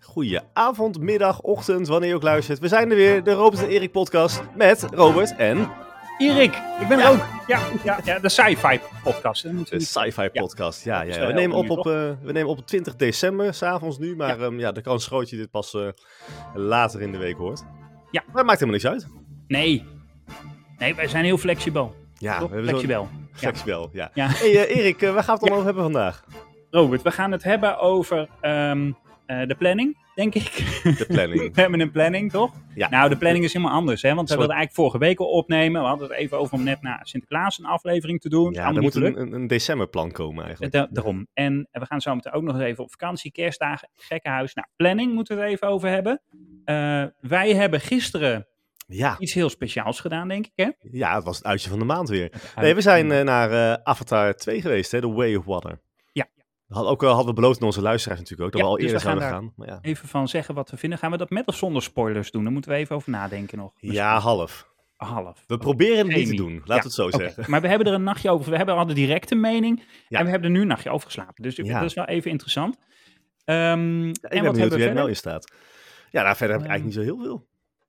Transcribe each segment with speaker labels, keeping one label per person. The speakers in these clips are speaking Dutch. Speaker 1: goeie avond, middag, ochtend, wanneer je ook luistert. We zijn er weer, de Robert en Erik podcast met Robert en
Speaker 2: Erik, ik ben
Speaker 3: Ja.
Speaker 2: er ook.
Speaker 3: Ja, ja, ja de sci-fi podcast. hè, moeten we
Speaker 1: de
Speaker 2: Dus.
Speaker 3: niet-
Speaker 1: Sci-Fi podcast. Ja, ja,
Speaker 3: is
Speaker 1: ja.
Speaker 3: wel
Speaker 1: We, nemen op
Speaker 3: helder
Speaker 1: op, eh, we nemen op op 20 december, s'avonds nu. Maar ehm, ja, de kans is groot dat je dit pas eh, later in de week hoort.
Speaker 2: Ja.
Speaker 1: Maar het maakt helemaal niks uit.
Speaker 2: Nee. Nee, wij zijn heel flexibel.
Speaker 1: Ja,
Speaker 2: Toch?
Speaker 1: we hebben zo'n...
Speaker 2: flexibel. Ja.
Speaker 1: Flexibel, ja.
Speaker 2: Ja.
Speaker 1: hey, eh, Erik, eh, waar gaan we het allemaal over hebben vandaag?
Speaker 2: Robert, we gaan het hebben over ehm, eh, de planning, denk ik.
Speaker 1: De planning.
Speaker 2: We hebben een planning, toch?
Speaker 1: Ja.
Speaker 2: Nou, de planning is helemaal anders, hè? Want we
Speaker 1: Sorry.
Speaker 2: wilden eigenlijk vorige week al opnemen. We hadden het even over om net na Sinterklaas een aflevering te doen.
Speaker 1: Ja,
Speaker 2: Allemaal
Speaker 1: er
Speaker 2: niet
Speaker 1: moet
Speaker 2: gelukt.
Speaker 1: een, een, een decemberplan komen eigenlijk.
Speaker 2: Da- daarom. En we gaan zo meteen ook nog eens even op vakantie, kerstdagen, gekkenhuis. Nou, planning moeten we het even over hebben. Eh, wij hebben gisteren
Speaker 1: Ja,
Speaker 2: iets heel speciaals gedaan, denk ik, hè?
Speaker 1: ja, het was het uitje van de maand weer. Nee, we zijn eh, naar eh, Avatar 2 geweest, hè? The Way of Water.
Speaker 2: Ja.
Speaker 1: We hadden ook eh, hadden we beloofd aan onze luisteraars natuurlijk ook, dat
Speaker 2: Ja,
Speaker 1: we al
Speaker 2: dus we
Speaker 1: eerder zouden
Speaker 2: gaan daar-
Speaker 1: gaan. Maar ja.
Speaker 2: even van zeggen wat we vinden. Gaan we dat met of zonder spoilers doen? Daar moeten we even over nadenken nog. Dus
Speaker 1: ja, half.
Speaker 2: half.
Speaker 1: We proberen het niet te
Speaker 2: Amy.
Speaker 1: doen, laten we
Speaker 2: Ja,
Speaker 1: het zo
Speaker 2: Oké,
Speaker 1: zeggen.
Speaker 2: Maar we hebben er een nachtje over. We hebben al de directe mening.
Speaker 1: Ja.
Speaker 2: En we hebben er nu een nachtje over geslapen. Dus
Speaker 1: Ja.
Speaker 2: dat is wel even interessant. Ehm,
Speaker 1: Ja,
Speaker 2: en
Speaker 1: ik ben
Speaker 2: wat
Speaker 1: benieuwd
Speaker 2: hebben
Speaker 1: hoe
Speaker 2: we
Speaker 1: jij er
Speaker 2: verder?
Speaker 1: nou in staat. Ja, nou, verder heb ik
Speaker 2: Ehm,
Speaker 1: eigenlijk niet zo heel veel.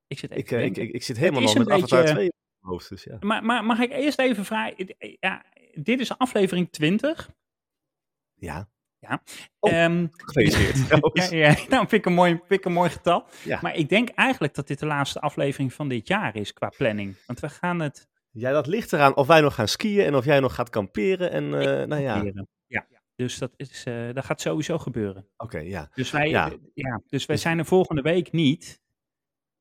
Speaker 2: Ik zit even
Speaker 1: Ik,
Speaker 2: te
Speaker 1: eh, ik,
Speaker 2: denken.
Speaker 1: ik, ik zit helemaal
Speaker 2: Het
Speaker 1: nog
Speaker 2: is
Speaker 1: met
Speaker 2: een
Speaker 1: Avatar
Speaker 2: beetje-
Speaker 1: 2 in mijn hoofd, dus ja.
Speaker 2: Maar, maar mag ik eerst even vragen? Ja, dit is aflevering 20.
Speaker 1: Ja, Oh.
Speaker 2: Ehm
Speaker 1: gefeliciteerd
Speaker 2: ja,
Speaker 1: trouwens.
Speaker 2: ja, nou, vind ik een mooi, vind ik een mooi getal.
Speaker 1: Ja.
Speaker 2: Maar ik denk eigenlijk dat dit de laatste aflevering van dit jaar is qua planning. Want we gaan het
Speaker 1: Ja, dat ligt eraan of wij nog gaan skiën en of jij nog gaat kamperen. En eh, nou ja, oké,
Speaker 2: leren. Ja. Dus dat, is, eh, dat gaat sowieso gebeuren.
Speaker 1: ja.
Speaker 2: Dus wij,
Speaker 1: Ja.
Speaker 2: ja. dus wij zijn er volgende week niet.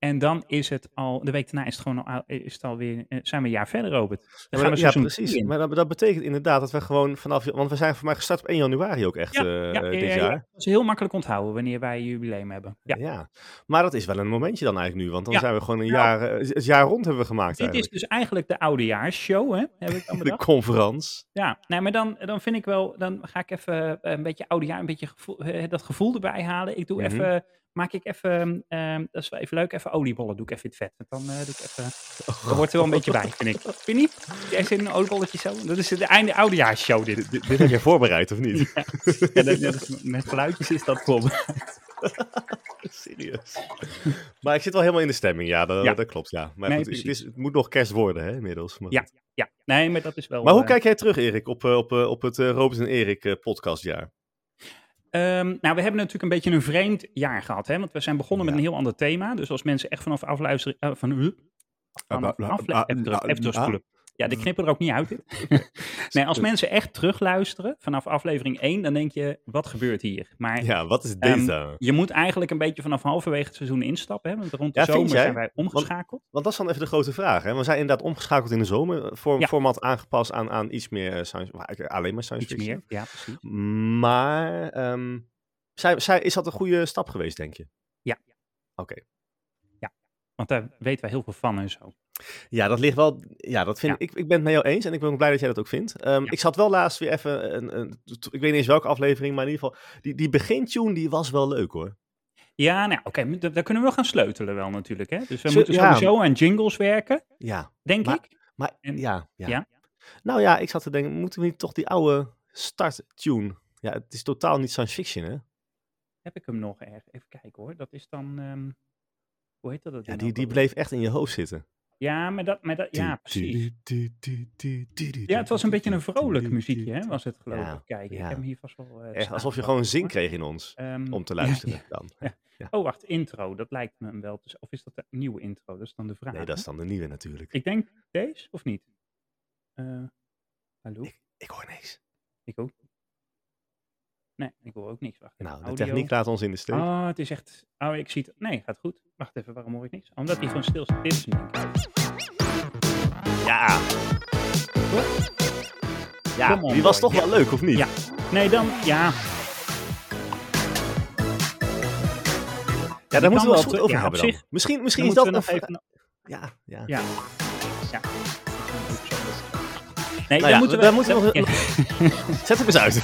Speaker 2: En dan is het al, de week daarna is het gewoon al, is het alweer, eh, zijn we een jaar verder, Robert. Dan
Speaker 1: Ja,
Speaker 2: gaan
Speaker 1: maar-
Speaker 2: we
Speaker 1: ja,
Speaker 2: seizoen
Speaker 1: precies.
Speaker 2: drie in.
Speaker 1: Maar dat, dat betekent inderdaad dat we gewoon vanaf... Want we zijn voor mij gestart op 1 januari ook echt
Speaker 2: Ja,
Speaker 1: eh,
Speaker 2: ja, ja,
Speaker 1: dit
Speaker 2: ja, ja.
Speaker 1: jaar.
Speaker 2: Dat is heel makkelijk onthouden wanneer wij een jubileum hebben. Ja.
Speaker 1: Ja. maar dat is wel een momentje dan eigenlijk nu, want dan
Speaker 2: Ja.
Speaker 1: zijn we gewoon een
Speaker 2: Ja.
Speaker 1: jaar, eh, het jaar rond hebben we gemaakt
Speaker 2: Dit is
Speaker 1: eigenlijk.
Speaker 2: dus eigenlijk de oudejaarsshow, hè? Heb ik dan
Speaker 1: De
Speaker 2: bedacht.
Speaker 1: conferentie.
Speaker 2: Ja, nee, maar dan, dan vind ik wel, dan ga ik even eh, een beetje oudejaar, een beetje gevoel, eh, dat gevoel erbij halen. Ik doe
Speaker 1: Mhm.
Speaker 2: even, maak ik even, ehm, dat is wel even leuk, even oliebollen doe ik even in het vet. En dan eh, doe ik even,
Speaker 1: Oh
Speaker 2: dat hoort er wel een beetje bij, vind ik. Vind je niet? Jij zit in een oliebolletje zo? Dat is de einde oudejaarsshow dit.
Speaker 1: Dit, dit heb jij voorbereid, of niet?
Speaker 2: Ja, dat, dat is- met geluidjes is dat vol.
Speaker 1: Serieus. Maar ik zit wel helemaal in de stemming, ja, dat,
Speaker 2: Ja.
Speaker 1: dat klopt, ja. Maar
Speaker 2: Nee,
Speaker 1: goed, het,
Speaker 2: precies.
Speaker 1: is, het moet nog kerst worden, hè, inmiddels. Maar,
Speaker 2: Ja,
Speaker 1: goed.
Speaker 2: Ja, nee, maar dat is wel...
Speaker 1: maar hoe
Speaker 2: eh,
Speaker 1: kijk jij terug, Erik, op, eh, op, eh, op het eh, Robert en Erik eh, podcastjaar?
Speaker 2: Ehm, nou, we hebben natuurlijk een beetje een vreemd jaar gehad, hè? Want we zijn begonnen
Speaker 1: Ja.
Speaker 2: met een heel ander thema. Dus als mensen echt vanaf afluisteren... eh, van, vanaf
Speaker 1: ah,
Speaker 2: afle-
Speaker 1: ah,
Speaker 2: even terug-
Speaker 1: ah, Mm.
Speaker 2: even terugspoelen. Ja, die knippen er ook niet uit. dit. nee, als mensen echt terugluisteren vanaf aflevering 1, dan denk je, wat gebeurt hier? Maar
Speaker 1: ah, Ja, wat is
Speaker 2: Ehm,
Speaker 1: deze?
Speaker 2: je moet eigenlijk een beetje vanaf halverwege het seizoen instappen. Hè? Want rond de
Speaker 1: Ja, vind
Speaker 2: zomer
Speaker 1: jij?
Speaker 2: zijn wij omgeschakeld.
Speaker 1: Want dat is dan even de grote vraag, hè. We zijn inderdaad omgeschakeld in de zomer, voor,
Speaker 2: Ja.
Speaker 1: format aangepast aan, aan iets meer eh, science, maar eigenlijk alleen maar science
Speaker 2: Iets
Speaker 1: fiction.
Speaker 2: meer, ja precies.
Speaker 1: Maar ehm, zij, zij, is dat een goede stap geweest, denk je?
Speaker 2: Ja.
Speaker 1: Oké.
Speaker 2: Want daar weten wij heel veel van en zo.
Speaker 1: Ja, dat ligt wel. Ja, dat vind
Speaker 2: Ja.
Speaker 1: Ik, ik ben het met jou eens en ik ben ook blij dat jij dat ook vindt. Ehm,
Speaker 2: Ja.
Speaker 1: Ik zat wel laatst weer even. Een, een, ik weet niet eens welke aflevering, maar in ieder geval. Die, die begintune die was wel leuk hoor.
Speaker 2: Ja, nou oké, maar daar daar kunnen we wel gaan sleutelen wel natuurlijk. Hè? Dus we
Speaker 1: Zo-
Speaker 2: moeten
Speaker 1: ja.
Speaker 2: sowieso aan jingles werken,
Speaker 1: Ja.
Speaker 2: denk
Speaker 1: Maar-
Speaker 2: ik.
Speaker 1: Maar
Speaker 2: En-
Speaker 1: ja, ja.
Speaker 2: ja?
Speaker 1: Nou ja, ik zat te denken, moeten we niet toch die oude starttune? Ja, het is totaal niet science fiction, hè?
Speaker 2: Heb ik hem nog erg? Even kijken hoor. Dat is dan... ehm, hoe heet dat? nou, dat
Speaker 1: Ja,
Speaker 2: ding
Speaker 1: die,
Speaker 2: ook
Speaker 1: die
Speaker 2: alweer?
Speaker 1: bleef echt in je hoofd zitten.
Speaker 2: Ja, maar dat, maar dat, ja, precies. Ja, het was een beetje een vrolijk muziekje, hè, was het geloof ik.
Speaker 1: Ja,
Speaker 2: Kijk,
Speaker 1: ja.
Speaker 2: ik heb hem hier vast wel... eh,
Speaker 1: Echt
Speaker 2: staan.
Speaker 1: alsof je gewoon zin kreeg in ons
Speaker 2: Ehm,
Speaker 1: om te
Speaker 2: ja,
Speaker 1: luisteren
Speaker 2: ja.
Speaker 1: dan.
Speaker 2: Oh, wacht, intro, dat lijkt me hem wel. te z- Of is dat de nieuwe intro? Dat is dan de vraag.
Speaker 1: Nee, dat is
Speaker 2: hè?
Speaker 1: dan de nieuwe natuurlijk.
Speaker 2: Ik denk deze, of niet? Eh, hallo? Ik,
Speaker 1: Ik hoor niks.
Speaker 2: ook niet. Nee, ik hoor ook niks. Wacht even,
Speaker 1: Nou, de
Speaker 2: audio.
Speaker 1: techniek laat ons in de steek.
Speaker 2: Oh, het is echt... Oh, ik zie het... Nee, gaat goed. Wacht even, waarom hoor ik niks? Omdat hij gewoon stil staat. Dit is hem, denk ik.
Speaker 1: Ja. Ja,
Speaker 2: Come on,
Speaker 1: die was
Speaker 2: boy.
Speaker 1: toch wel leuk, of niet?
Speaker 2: Ja. Nee, dan... Ja,
Speaker 1: ja daar moeten we
Speaker 2: kan wel
Speaker 1: wel goed
Speaker 2: terug-
Speaker 1: over
Speaker 2: ja,
Speaker 1: hebben
Speaker 2: op
Speaker 1: dan.
Speaker 2: zich-
Speaker 1: Misschien, misschien
Speaker 2: dan
Speaker 1: is dat
Speaker 2: moeten we
Speaker 1: een-
Speaker 2: nog even...
Speaker 1: Ja, ja.
Speaker 2: Ja. Ja. Nee,
Speaker 1: Nou ja,
Speaker 2: dan moeten we...
Speaker 1: daar moeten we nog-
Speaker 2: ja.
Speaker 1: Zet hem eens uit.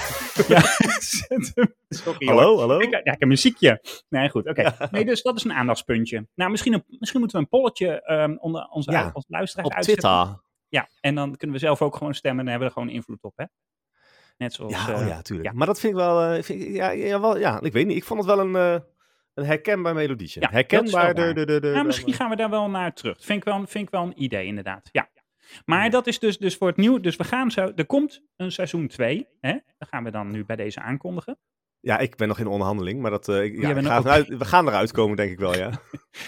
Speaker 2: Ja, zet hem. Sorry, hoor.
Speaker 1: hallo, hallo.
Speaker 2: Ik, eh, ja, ik heb muziekje. Nee, goed. Oké. Nee, dus dat is een aandachtspuntje. Nou, misschien, een, misschien moeten we een polletje ehm onder onze,
Speaker 1: Ja,
Speaker 2: onze luisteraars
Speaker 1: Op
Speaker 2: uitzetten.
Speaker 1: Twitter.
Speaker 2: Ja, en dan kunnen we zelf ook gewoon stemmen en dan hebben we er gewoon invloed op, hè? Net zoals...
Speaker 1: Ja,
Speaker 2: eh,
Speaker 1: oh ja, tuurlijk.
Speaker 2: ja.
Speaker 1: Maar dat vind ik wel... eh, vind ik, ja, ja, wel, ja, ik weet niet. Ik vond het wel een... eh, Een herkenbaar melodietje.
Speaker 2: Ja, dat is wel
Speaker 1: herkenbaar. De,
Speaker 2: waar.
Speaker 1: de, de, de,
Speaker 2: Nou, misschien gaan we daar wel naar terug. Vind ik wel, vind ik wel een idee, inderdaad. Ja. Maar dat is dus, dus voor het nieuw. Dus we gaan zo. Er komt een seizoen 2. Hè? Dat gaan we dan nu bij deze aankondigen.
Speaker 1: Ja, ik ben nog in onderhandeling, maar dat, eh, ik- ja,
Speaker 2: Oh, Jij
Speaker 1: ik
Speaker 2: bent
Speaker 1: ga
Speaker 2: ook-
Speaker 1: vanuit- we gaan eruit komen, denk ik wel, ja.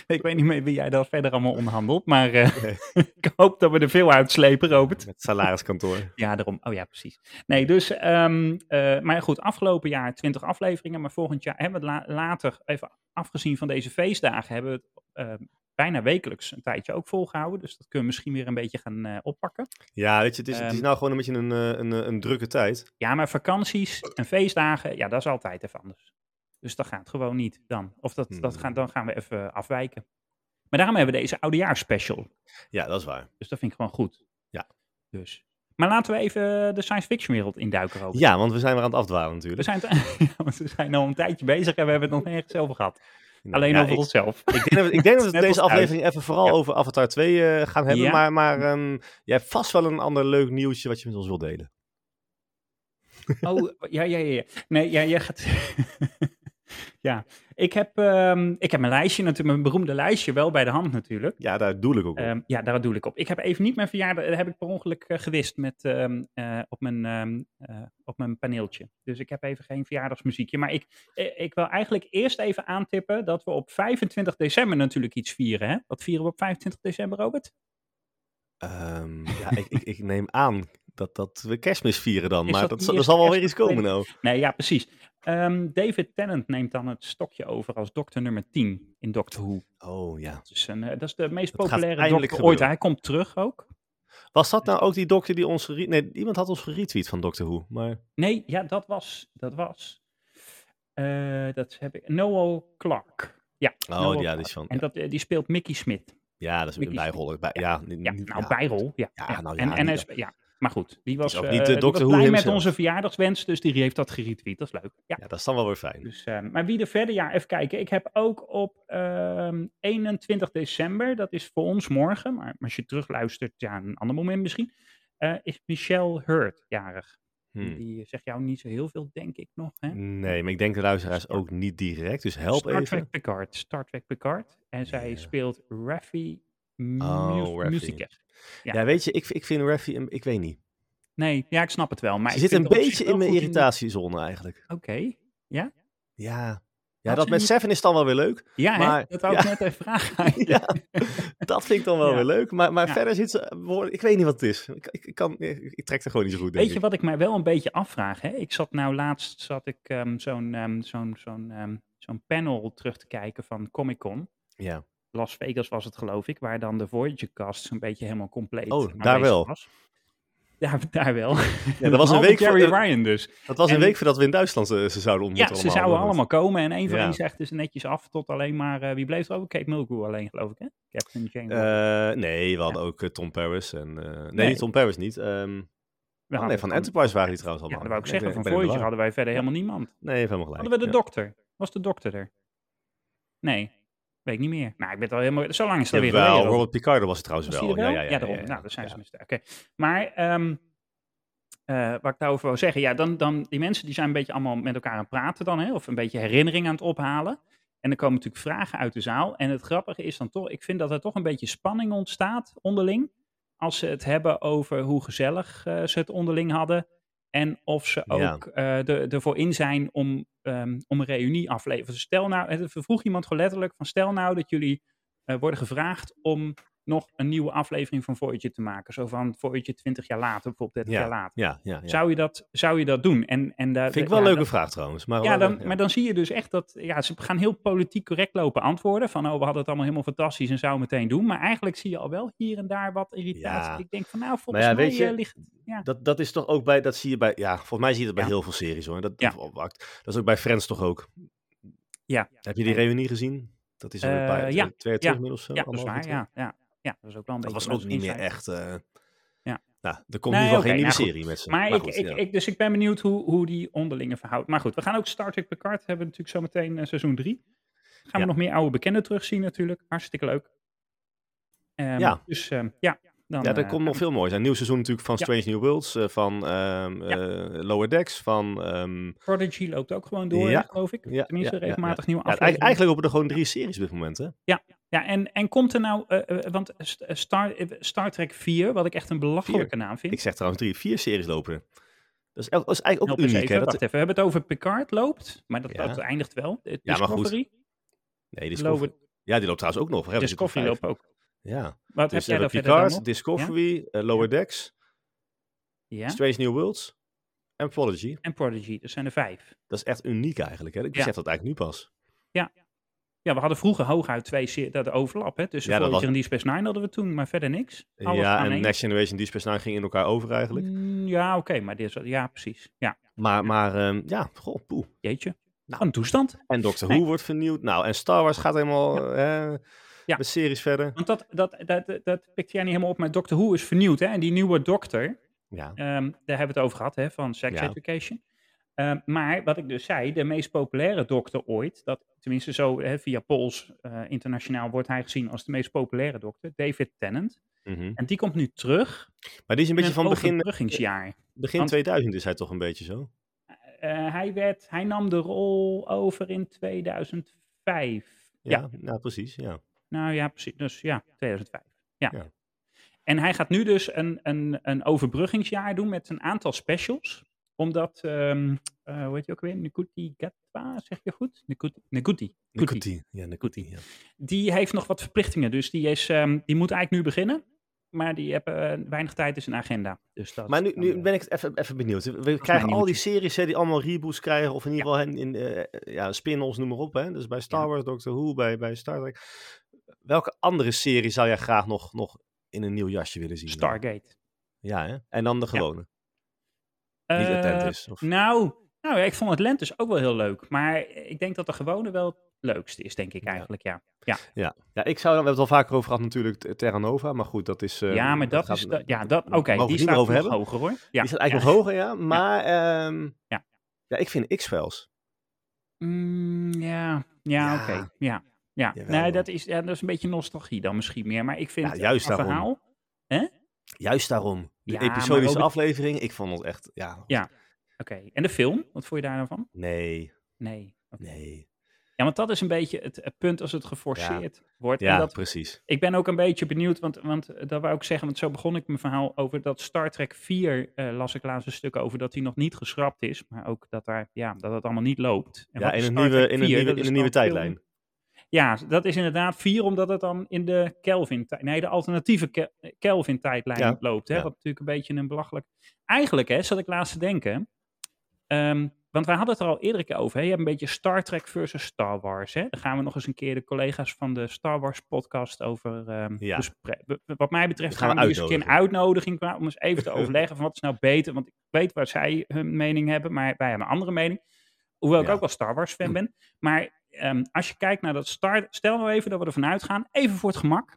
Speaker 2: Ik weet niet meer wie jij daar verder allemaal onderhandelt. Maar eh,
Speaker 1: Nee.
Speaker 2: ik hoop dat we er veel uitslepen, Robert.
Speaker 1: Met salariskantoor.
Speaker 2: Ja, daarom. Oh ja, precies. Nee, dus, ehm, eh, maar goed, afgelopen jaar 20 afleveringen, maar volgend jaar hebben we het la- later, even afgezien van deze feestdagen, hebben we het ehm, bijna wekelijks een tijdje ook volgehouden. Dus dat kunnen we misschien weer een beetje gaan eh, oppakken.
Speaker 1: Ja, weet je, het is, het is
Speaker 2: Ehm.
Speaker 1: nou gewoon een beetje een, eh, een, eh, een drukke tijd.
Speaker 2: Ja, maar vakanties en feestdagen, ja, dat is altijd even anders. Dus dat gaat gewoon niet dan. Of dat, dat
Speaker 1: Hmm.
Speaker 2: gaan, dan gaan we even afwijken. Maar daarom hebben we deze oudejaarspecial.
Speaker 1: Ja, dat is waar.
Speaker 2: Dus dat vind ik gewoon goed.
Speaker 1: Ja.
Speaker 2: Dus. Maar laten we even de science fiction wereld induiken, Robert.
Speaker 1: Ja, want we zijn weer aan het afdwalen
Speaker 2: We
Speaker 1: natuurlijk.
Speaker 2: zijn, t- ja, want we zijn al een tijdje bezig en we hebben het nog nergens over gehad.
Speaker 1: Nou,
Speaker 2: Alleen
Speaker 1: ja,
Speaker 2: over
Speaker 1: ik,
Speaker 2: onszelf.
Speaker 1: ik denk dat we, ik denk dat we
Speaker 2: Net
Speaker 1: deze
Speaker 2: als thuis.
Speaker 1: aflevering even vooral
Speaker 2: Ja.
Speaker 1: over Avatar 2 eh, gaan hebben.
Speaker 2: Ja.
Speaker 1: Maar, maar ehm, jij hebt vast wel een ander leuk nieuwtje wat je met ons wilt delen.
Speaker 2: Oh, ja, ja, ja. ja. Nee, ja, jij gaat... ja, ik heb, ehm, ik heb mijn lijstje natuurlijk, mijn beroemde lijstje wel bij de hand natuurlijk.
Speaker 1: Ja, daar doel ik ook op.
Speaker 2: Ehm, ja, daar doe ik op. Ik heb even niet mijn verjaardag, dat heb ik per ongeluk eh, gewist met, ehm, eh, op, mijn, ehm, eh, op mijn paneeltje. Dus ik heb even geen verjaardagsmuziekje. Maar ik, eh, ik wil eigenlijk eerst even aantippen dat we op 25 december natuurlijk iets vieren. Hè? Wat vieren we op 25 december, Robert?
Speaker 1: Ehm, ja, ik, ik, ik neem aan dat, dat we kerstmis vieren dan.
Speaker 2: Is
Speaker 1: maar
Speaker 2: dat
Speaker 1: dat,
Speaker 2: die
Speaker 1: zal- er
Speaker 2: eerste
Speaker 1: zal wel weer iets komen
Speaker 2: kerstmis?
Speaker 1: nou.
Speaker 2: Nee, ja, precies. Ehm, David Tennant neemt dan het stokje over als dokter nummer 10 in Doctor Who.
Speaker 1: Oh ja.
Speaker 2: Dus een, eh, dat is de meest
Speaker 1: Dat gaat
Speaker 2: populaire
Speaker 1: eindelijk
Speaker 2: dokter ooit.
Speaker 1: gebeuren.
Speaker 2: Hij komt terug ook.
Speaker 1: Was dat nou ook die dokter die ons... gere- Nee, iemand had ons geretweet van Doctor Who. Maar
Speaker 2: Nee, ja, dat was. Dat was. eh, dat heb ik. Noel Clark. Ja,
Speaker 1: Oh,
Speaker 2: Noel
Speaker 1: ja, die is
Speaker 2: Clark.
Speaker 1: van-
Speaker 2: En dat, eh, die speelt Mickey Smith.
Speaker 1: ja, dat is een
Speaker 2: Mickey
Speaker 1: bijrol. Bij, ja, niet-
Speaker 2: Ja,
Speaker 1: niet-
Speaker 2: nou,
Speaker 1: ja.
Speaker 2: bijrol. Ja,
Speaker 1: Ja, nou ja,
Speaker 2: en, en hij
Speaker 1: niet-
Speaker 2: is- ja, maar goed. Die was,
Speaker 1: ook
Speaker 2: eh,
Speaker 1: niet de
Speaker 2: die was
Speaker 1: Doctor Who
Speaker 2: blij met
Speaker 1: himself.
Speaker 2: onze verjaardagswens, dus die heeft dat geretweet. Dat is leuk. Ja.
Speaker 1: Ja, dat is dan wel weer fijn.
Speaker 2: Dus, eh, maar wie er verder, ja, even kijken. Ik heb ook op ehm, 21 december, dat is voor ons morgen, maar als je terugluistert, ja, een ander moment misschien, eh, is Michelle Hurt jarig.
Speaker 1: Hmm.
Speaker 2: Die eh, zegt jou niet zo heel veel, denk ik nog. Hè?
Speaker 1: Nee, maar ik denk de luisteraars ook niet direct. Dus help
Speaker 2: Star
Speaker 1: even.
Speaker 2: Trek Picard, Star Trek Picard. En zij
Speaker 1: Ja.
Speaker 2: speelt Raffi
Speaker 1: Oh, Raffi.
Speaker 2: Musiker.
Speaker 1: Ja.
Speaker 2: Ja.
Speaker 1: weet je, ik, ik vind Raffi... een- Ik weet niet.
Speaker 2: Nee, ja, ik snap het wel. Maar
Speaker 1: Ze
Speaker 2: ik
Speaker 1: zit
Speaker 2: vind
Speaker 1: een
Speaker 2: het op zich
Speaker 1: beetje in
Speaker 2: wel
Speaker 1: mijn
Speaker 2: goed
Speaker 1: irritatiezone eigenlijk.
Speaker 2: Oké.
Speaker 1: Ja. Ja,
Speaker 2: Had
Speaker 1: dat
Speaker 2: ze
Speaker 1: met
Speaker 2: niet-
Speaker 1: Seven is dan wel weer leuk.
Speaker 2: Ja, hè,
Speaker 1: Maar-
Speaker 2: dat wou ik net even vragen.
Speaker 1: Ja, dat vind ik dan wel
Speaker 2: Ja.
Speaker 1: weer leuk. Maar, maar
Speaker 2: Ja.
Speaker 1: verder zit ze... behoorlijk- Ik weet niet wat het is. Ik, ik, ik kan, ik, ik trek er gewoon niet zo goed, denk
Speaker 2: Weet je
Speaker 1: ik.
Speaker 2: wat ik mij wel een beetje afvraag? Hè? Ik zat nou laatst zat ik ehm, zo'n ehm, zo'n zo'n ehm, zo'n panel terug te kijken van Comic Con.
Speaker 1: Ja.
Speaker 2: Las Vegas was het geloof ik, waar dan de Voyager cast een beetje helemaal compleet
Speaker 1: Oh,
Speaker 2: aanwezig
Speaker 1: daar wel.
Speaker 2: was. Daar, daar
Speaker 1: Ja,
Speaker 2: wel.
Speaker 1: dat was een
Speaker 2: Behalve
Speaker 1: week voor-
Speaker 2: Jerry Ryan dus.
Speaker 1: Dat was een
Speaker 2: En-
Speaker 1: week voordat we in Duitsland eh, ze zouden
Speaker 2: Ja,
Speaker 1: ontmoeten.
Speaker 2: ze zouden
Speaker 1: want-
Speaker 2: allemaal komen en één van
Speaker 1: Ja.
Speaker 2: hen zegt dus netjes af tot alleen maar, eh, wie bleef er over? Kate Mulgrew alleen geloof ik hè? Captain Jane.
Speaker 1: Eh, nee, we hadden ook eh, Tom Paris. En, eh, nee,
Speaker 2: Nee.
Speaker 1: Tom Paris niet. ehm,
Speaker 2: We
Speaker 1: oh, nee,
Speaker 2: hadden
Speaker 1: van
Speaker 2: gewoon-
Speaker 1: Enterprise waren die trouwens
Speaker 2: Ja,
Speaker 1: allemaal.
Speaker 2: dat wou ik
Speaker 1: Nee,
Speaker 2: zeggen,
Speaker 1: ik
Speaker 2: van
Speaker 1: ben in de
Speaker 2: Voyager
Speaker 1: war.
Speaker 2: hadden wij verder helemaal niemand.
Speaker 1: Nee, je hebt helemaal gelijk.
Speaker 2: Hadden we de
Speaker 1: ja.
Speaker 2: dokter? Was de dokter er? Nee, weet ik niet meer. Nou, ik ben het al helemaal... Zo lang is het
Speaker 1: Jawel,
Speaker 2: alweer geleden. Rob.
Speaker 1: Robert Picardo was het trouwens
Speaker 2: Was die
Speaker 1: wel.
Speaker 2: er wel?
Speaker 1: Ja, ja, ja, ja,
Speaker 2: daarom.
Speaker 1: ja,
Speaker 2: nou, dat zijn
Speaker 1: ja.
Speaker 2: ze misdaad. Oké. Maar ehm, eh, wat ik daarover wil zeggen, ja, dan, dan die mensen die zijn een beetje allemaal met elkaar aan het praten dan, hè, of een beetje herinnering aan het ophalen. En er komen natuurlijk vragen uit de zaal. En het grappige is dan toch, ik vind dat er toch een beetje spanning ontstaat onderling. Als ze het hebben over hoe gezellig eh, ze het onderling hadden. En of ze
Speaker 1: Ja.
Speaker 2: ook eh, er- ervoor in zijn om, ehm, om een reunie af te leveren. Dus Stel nou, het vroeg iemand gewoon letterlijk van stel nou dat jullie eh, worden gevraagd om nog een nieuwe aflevering van Voyager te maken. Zo van Voyager 20 jaar later, bijvoorbeeld 30
Speaker 1: Ja,
Speaker 2: jaar later.
Speaker 1: Ja, ja, ja.
Speaker 2: Zou, je dat, zou je dat doen? En, en daar-
Speaker 1: Vind ik wel een
Speaker 2: ja,
Speaker 1: leuke
Speaker 2: dat-
Speaker 1: vraag trouwens. Maar,
Speaker 2: ja,
Speaker 1: wel-
Speaker 2: dan, maar dan zie je dus echt dat ja, ze gaan heel politiek correct lopen antwoorden. Van oh, we hadden het allemaal helemaal fantastisch en zouden meteen doen. Maar eigenlijk zie je al wel hier en daar wat irritatie.
Speaker 1: Ja.
Speaker 2: Ik denk van nou, volgens
Speaker 1: ja,
Speaker 2: mij
Speaker 1: weet je,
Speaker 2: eh, ligt ja.
Speaker 1: dat, dat is toch ook bij, dat zie je bij, ja, volgens mij zie je dat bij
Speaker 2: Ja.
Speaker 1: heel veel series hoor. Dat,
Speaker 2: Ja.
Speaker 1: dat, dat is ook bij Friends toch ook.
Speaker 2: Ja,
Speaker 1: Heb je die reunie gezien? Dat is al een
Speaker 2: Eh,
Speaker 1: paar,
Speaker 2: ja,
Speaker 1: twee, twee jaar
Speaker 2: ja,
Speaker 1: terug inmiddels. zo,
Speaker 2: ja, dat is
Speaker 1: anderhalf jaar
Speaker 2: waar.
Speaker 1: terug.
Speaker 2: Ja, ja, ja, dat is ook wel een
Speaker 1: Dat
Speaker 2: beetje
Speaker 1: was ook
Speaker 2: een
Speaker 1: niet meer
Speaker 2: insight.
Speaker 1: echt. eh,
Speaker 2: Ja.
Speaker 1: Nou, er komt
Speaker 2: Nee,
Speaker 1: in ieder geval
Speaker 2: oké,
Speaker 1: geen nieuwe
Speaker 2: nou goed.
Speaker 1: serie met ze.
Speaker 2: Maar, ik,
Speaker 1: goed,
Speaker 2: ik,
Speaker 1: ja.
Speaker 2: ik, dus ik ben benieuwd hoe, hoe die onderlinge verhoudt. Maar goed, we gaan ook Star Trek Picard hebben we natuurlijk zometeen meteen seizoen 3.
Speaker 1: Ja.
Speaker 2: Gaan we nog meer oude bekenden terugzien natuurlijk. Hartstikke leuk. Ehm,
Speaker 1: Ja.
Speaker 2: Dus ehm, ja, Dan,
Speaker 1: Ja, er
Speaker 2: eh,
Speaker 1: komt nog veel moois. Een nieuw seizoen natuurlijk van
Speaker 2: Ja.
Speaker 1: Strange New Worlds, eh, van ehm, eh, Lower Decks, van... ehm,
Speaker 2: Prodigy loopt ook gewoon door,
Speaker 1: Ja.
Speaker 2: geloof ik.
Speaker 1: Ja,
Speaker 2: Tenminste,
Speaker 1: ja, ja,
Speaker 2: regelmatig nieuwe
Speaker 1: ja,
Speaker 2: afleveringen.
Speaker 1: eigenlijk, eigenlijk lopen er gewoon drie series op dit moment, hè?
Speaker 2: Ja, en, en komt er nou, eh, eh, want S- eh, Star, eh, Star Trek 4, wat ik echt een belachelijke naam vind.
Speaker 1: Ik zeg trouwens drie, vier series lopen er. Dat is, el- dat is eigenlijk
Speaker 2: Help
Speaker 1: ook
Speaker 2: eens
Speaker 1: uniek,
Speaker 2: even,
Speaker 1: hè? Dat,
Speaker 2: wacht even, we hebben het over Picard loopt, maar dat,
Speaker 1: Ja.
Speaker 2: dat eindigt wel. Eh,
Speaker 1: maar goed,
Speaker 2: Discovery,
Speaker 1: nee, Discovery,
Speaker 2: Discovery,
Speaker 1: ja, die loopt trouwens ook nog. We hebben er
Speaker 2: Discovery
Speaker 1: vijf.
Speaker 2: loopt ook.
Speaker 1: Ja,
Speaker 2: Wat heb
Speaker 1: dus
Speaker 2: jij
Speaker 1: eh,
Speaker 2: daar verder dan nog?
Speaker 1: Picard, Discovery, eh, Lower Decks,
Speaker 2: Ja,
Speaker 1: Strange New Worlds en Prodigy.
Speaker 2: en Prodigy, dat zijn er vijf.
Speaker 1: Dat is echt uniek eigenlijk, hè? Ik
Speaker 2: Ja.
Speaker 1: besef dat eigenlijk nu pas.
Speaker 2: Ja, we hadden vroeger hooguit twee se- dat overlap, hè? Tussen
Speaker 1: Ja, dat
Speaker 2: Voyager en Deep Space Nine hadden we toen, maar verder niks. Alles
Speaker 1: ja,
Speaker 2: aan
Speaker 1: en
Speaker 2: één.
Speaker 1: Next Generation, Deep Space Nine ging in elkaar over eigenlijk.
Speaker 2: Mm, Ja, oké, maar dit is, ja, precies. Ja,
Speaker 1: Maar, maar ehm, ja, goh, poeh.
Speaker 2: jeetje. Nou, een toestand.
Speaker 1: En Doctor
Speaker 2: Nee.
Speaker 1: Who wordt vernieuwd. Nou, en Star Wars gaat helemaal eh,
Speaker 2: Ja.
Speaker 1: met series verder.
Speaker 2: Want dat, dat, dat, dat, dat pikte jij niet helemaal op, maar Doctor Who is vernieuwd. Hè? En die nieuwe dokter,
Speaker 1: Ja,
Speaker 2: ehm, daar hebben we het over gehad, hè, van Sex
Speaker 1: Ja.
Speaker 2: Education. Ehm, maar wat ik dus zei, de meest populaire dokter ooit, dat, tenminste zo hè, via Pols eh, internationaal wordt hij gezien als de meest populaire dokter, David Tennant.
Speaker 1: mhm.
Speaker 2: En die komt nu terug.
Speaker 1: maar die is een beetje
Speaker 2: met
Speaker 1: van begin,
Speaker 2: overbruggingsjaar.
Speaker 1: begin
Speaker 2: want-
Speaker 1: 2000 is hij toch een beetje zo?
Speaker 2: Eh, hij, werd, hij nam de rol over in 2005. Ja,
Speaker 1: Ja, nou precies, ja.
Speaker 2: Nou ja, precies. Dus ja, 2005. Ja.
Speaker 1: Ja.
Speaker 2: En hij gaat nu dus een, een, een overbruggingsjaar doen met een aantal specials. Omdat, ehm eh, hoe heet je ook weer? Nikuti Gatwa, zeg je goed? Nikuti. Nikuti. Nikuti.
Speaker 1: Nikuti. Ja, Nikuti, ja.
Speaker 2: Die heeft nog wat verplichtingen. Dus die, is, ehm, die moet eigenlijk nu beginnen. Maar die hebben eh, weinig tijd in zijn agenda. Dus dat,
Speaker 1: Maar nu,
Speaker 2: dan,
Speaker 1: nu
Speaker 2: eh,
Speaker 1: ben ik het even, even benieuwd. We
Speaker 2: mij
Speaker 1: krijgen
Speaker 2: niet
Speaker 1: al
Speaker 2: met
Speaker 1: die series hè, die allemaal reboots krijgen. Of in ieder geval hen in, eh, ja, spin-offs, noem maar op. Hè. Dus bij Star
Speaker 2: Ja.
Speaker 1: Wars, Doctor Who, bij, bij Star Trek. Welke andere serie zou jij graag nog, nog in een nieuw jasje willen zien? dan?
Speaker 2: Stargate.
Speaker 1: Ja, hè? En dan de gewone. Niet
Speaker 2: Eh,
Speaker 1: attent is. Of...
Speaker 2: Nou, nou ja, ik vond het dus ook wel heel leuk. Maar ik denk dat de gewone wel het leukste is, denk ik eigenlijk, ja.
Speaker 1: Ja. ja, ik zou dan, we hebben het al vaker over gehad natuurlijk, T- Terra Nova. Maar goed, dat is... eh,
Speaker 2: ja, maar dat, is.
Speaker 1: gaat-
Speaker 2: dat- ja, dat. Oké,
Speaker 1: mogen we
Speaker 2: die
Speaker 1: het niet
Speaker 2: staat
Speaker 1: meer
Speaker 2: nog
Speaker 1: over hebben.
Speaker 2: hoger hoor. Ja,
Speaker 1: Die staat eigenlijk
Speaker 2: ja.
Speaker 1: nog hoger, ja. Maar ehm,
Speaker 2: Ja.
Speaker 1: ja. ik vind X-Files.
Speaker 2: Mm, ja, ja,
Speaker 1: Ja.
Speaker 2: oké. Ja, ja.
Speaker 1: Jawel,
Speaker 2: nee,
Speaker 1: hoor.
Speaker 2: dat is, ja, dat is een beetje nostalgie dan misschien meer. Maar ik vind
Speaker 1: Ja,
Speaker 2: het
Speaker 1: juist
Speaker 2: een
Speaker 1: daarom.
Speaker 2: verhaal.
Speaker 1: Juist daarom. De
Speaker 2: Ja, maar
Speaker 1: episodische
Speaker 2: Robert-
Speaker 1: aflevering, ik vond het echt... Ja,
Speaker 2: Ja. Oké, en de film, wat vond je daar nou van?
Speaker 1: nee,
Speaker 2: Nee. oké.
Speaker 1: nee.
Speaker 2: Ja, want dat is een beetje het eh, punt als het geforceerd wordt. En
Speaker 1: Ja,
Speaker 2: dat,
Speaker 1: precies.
Speaker 2: ik ben ook een beetje benieuwd, want, want eh, dat wou ik zeggen, want zo begon ik mijn verhaal over dat Star Trek 4, eh, las ik laatst een stuk over, dat die nog niet geschrapt is, maar ook dat, daar, ja, dat het allemaal niet loopt. En
Speaker 1: Ja,
Speaker 2: wat
Speaker 1: in
Speaker 2: is
Speaker 1: een
Speaker 2: Star
Speaker 1: nieuwe,
Speaker 2: Trek
Speaker 1: in een
Speaker 2: 4?
Speaker 1: nieuwe,
Speaker 2: Dat
Speaker 1: in
Speaker 2: is
Speaker 1: een nieuwe
Speaker 2: dan film-
Speaker 1: tijdlijn.
Speaker 2: Ja, dat is inderdaad vier, omdat het dan in de Kelvin, tij- nee, de alternatieve Ke- Kelvin tijdlijn
Speaker 1: Ja,
Speaker 2: loopt. Hè?
Speaker 1: ja.
Speaker 2: Wat natuurlijk een beetje een belachelijk. Eigenlijk, hè, zat ik laatst te denken. ehm, want wij hadden het er al eerder een keer over. Hè? Je hebt een beetje Star Trek versus Star Wars. Hè? Daar gaan we nog eens een keer de collega's van de Star Wars podcast over ehm
Speaker 1: Ja.
Speaker 2: bespre- be- be- Wat mij betreft
Speaker 1: We
Speaker 2: gaan
Speaker 1: gaan
Speaker 2: we die eens een keer een
Speaker 1: uitnodigen.
Speaker 2: uitnodiging qua- om eens even te overleggen van wat is nou beter. Want ik weet waar zij hun mening hebben, maar wij hebben een andere mening. Hoewel ik
Speaker 1: Ja.
Speaker 2: ook wel Star Wars fan ben. Maar ehm, als je kijkt naar dat Star... Stel nou even dat we ervan uitgaan, even voor het gemak,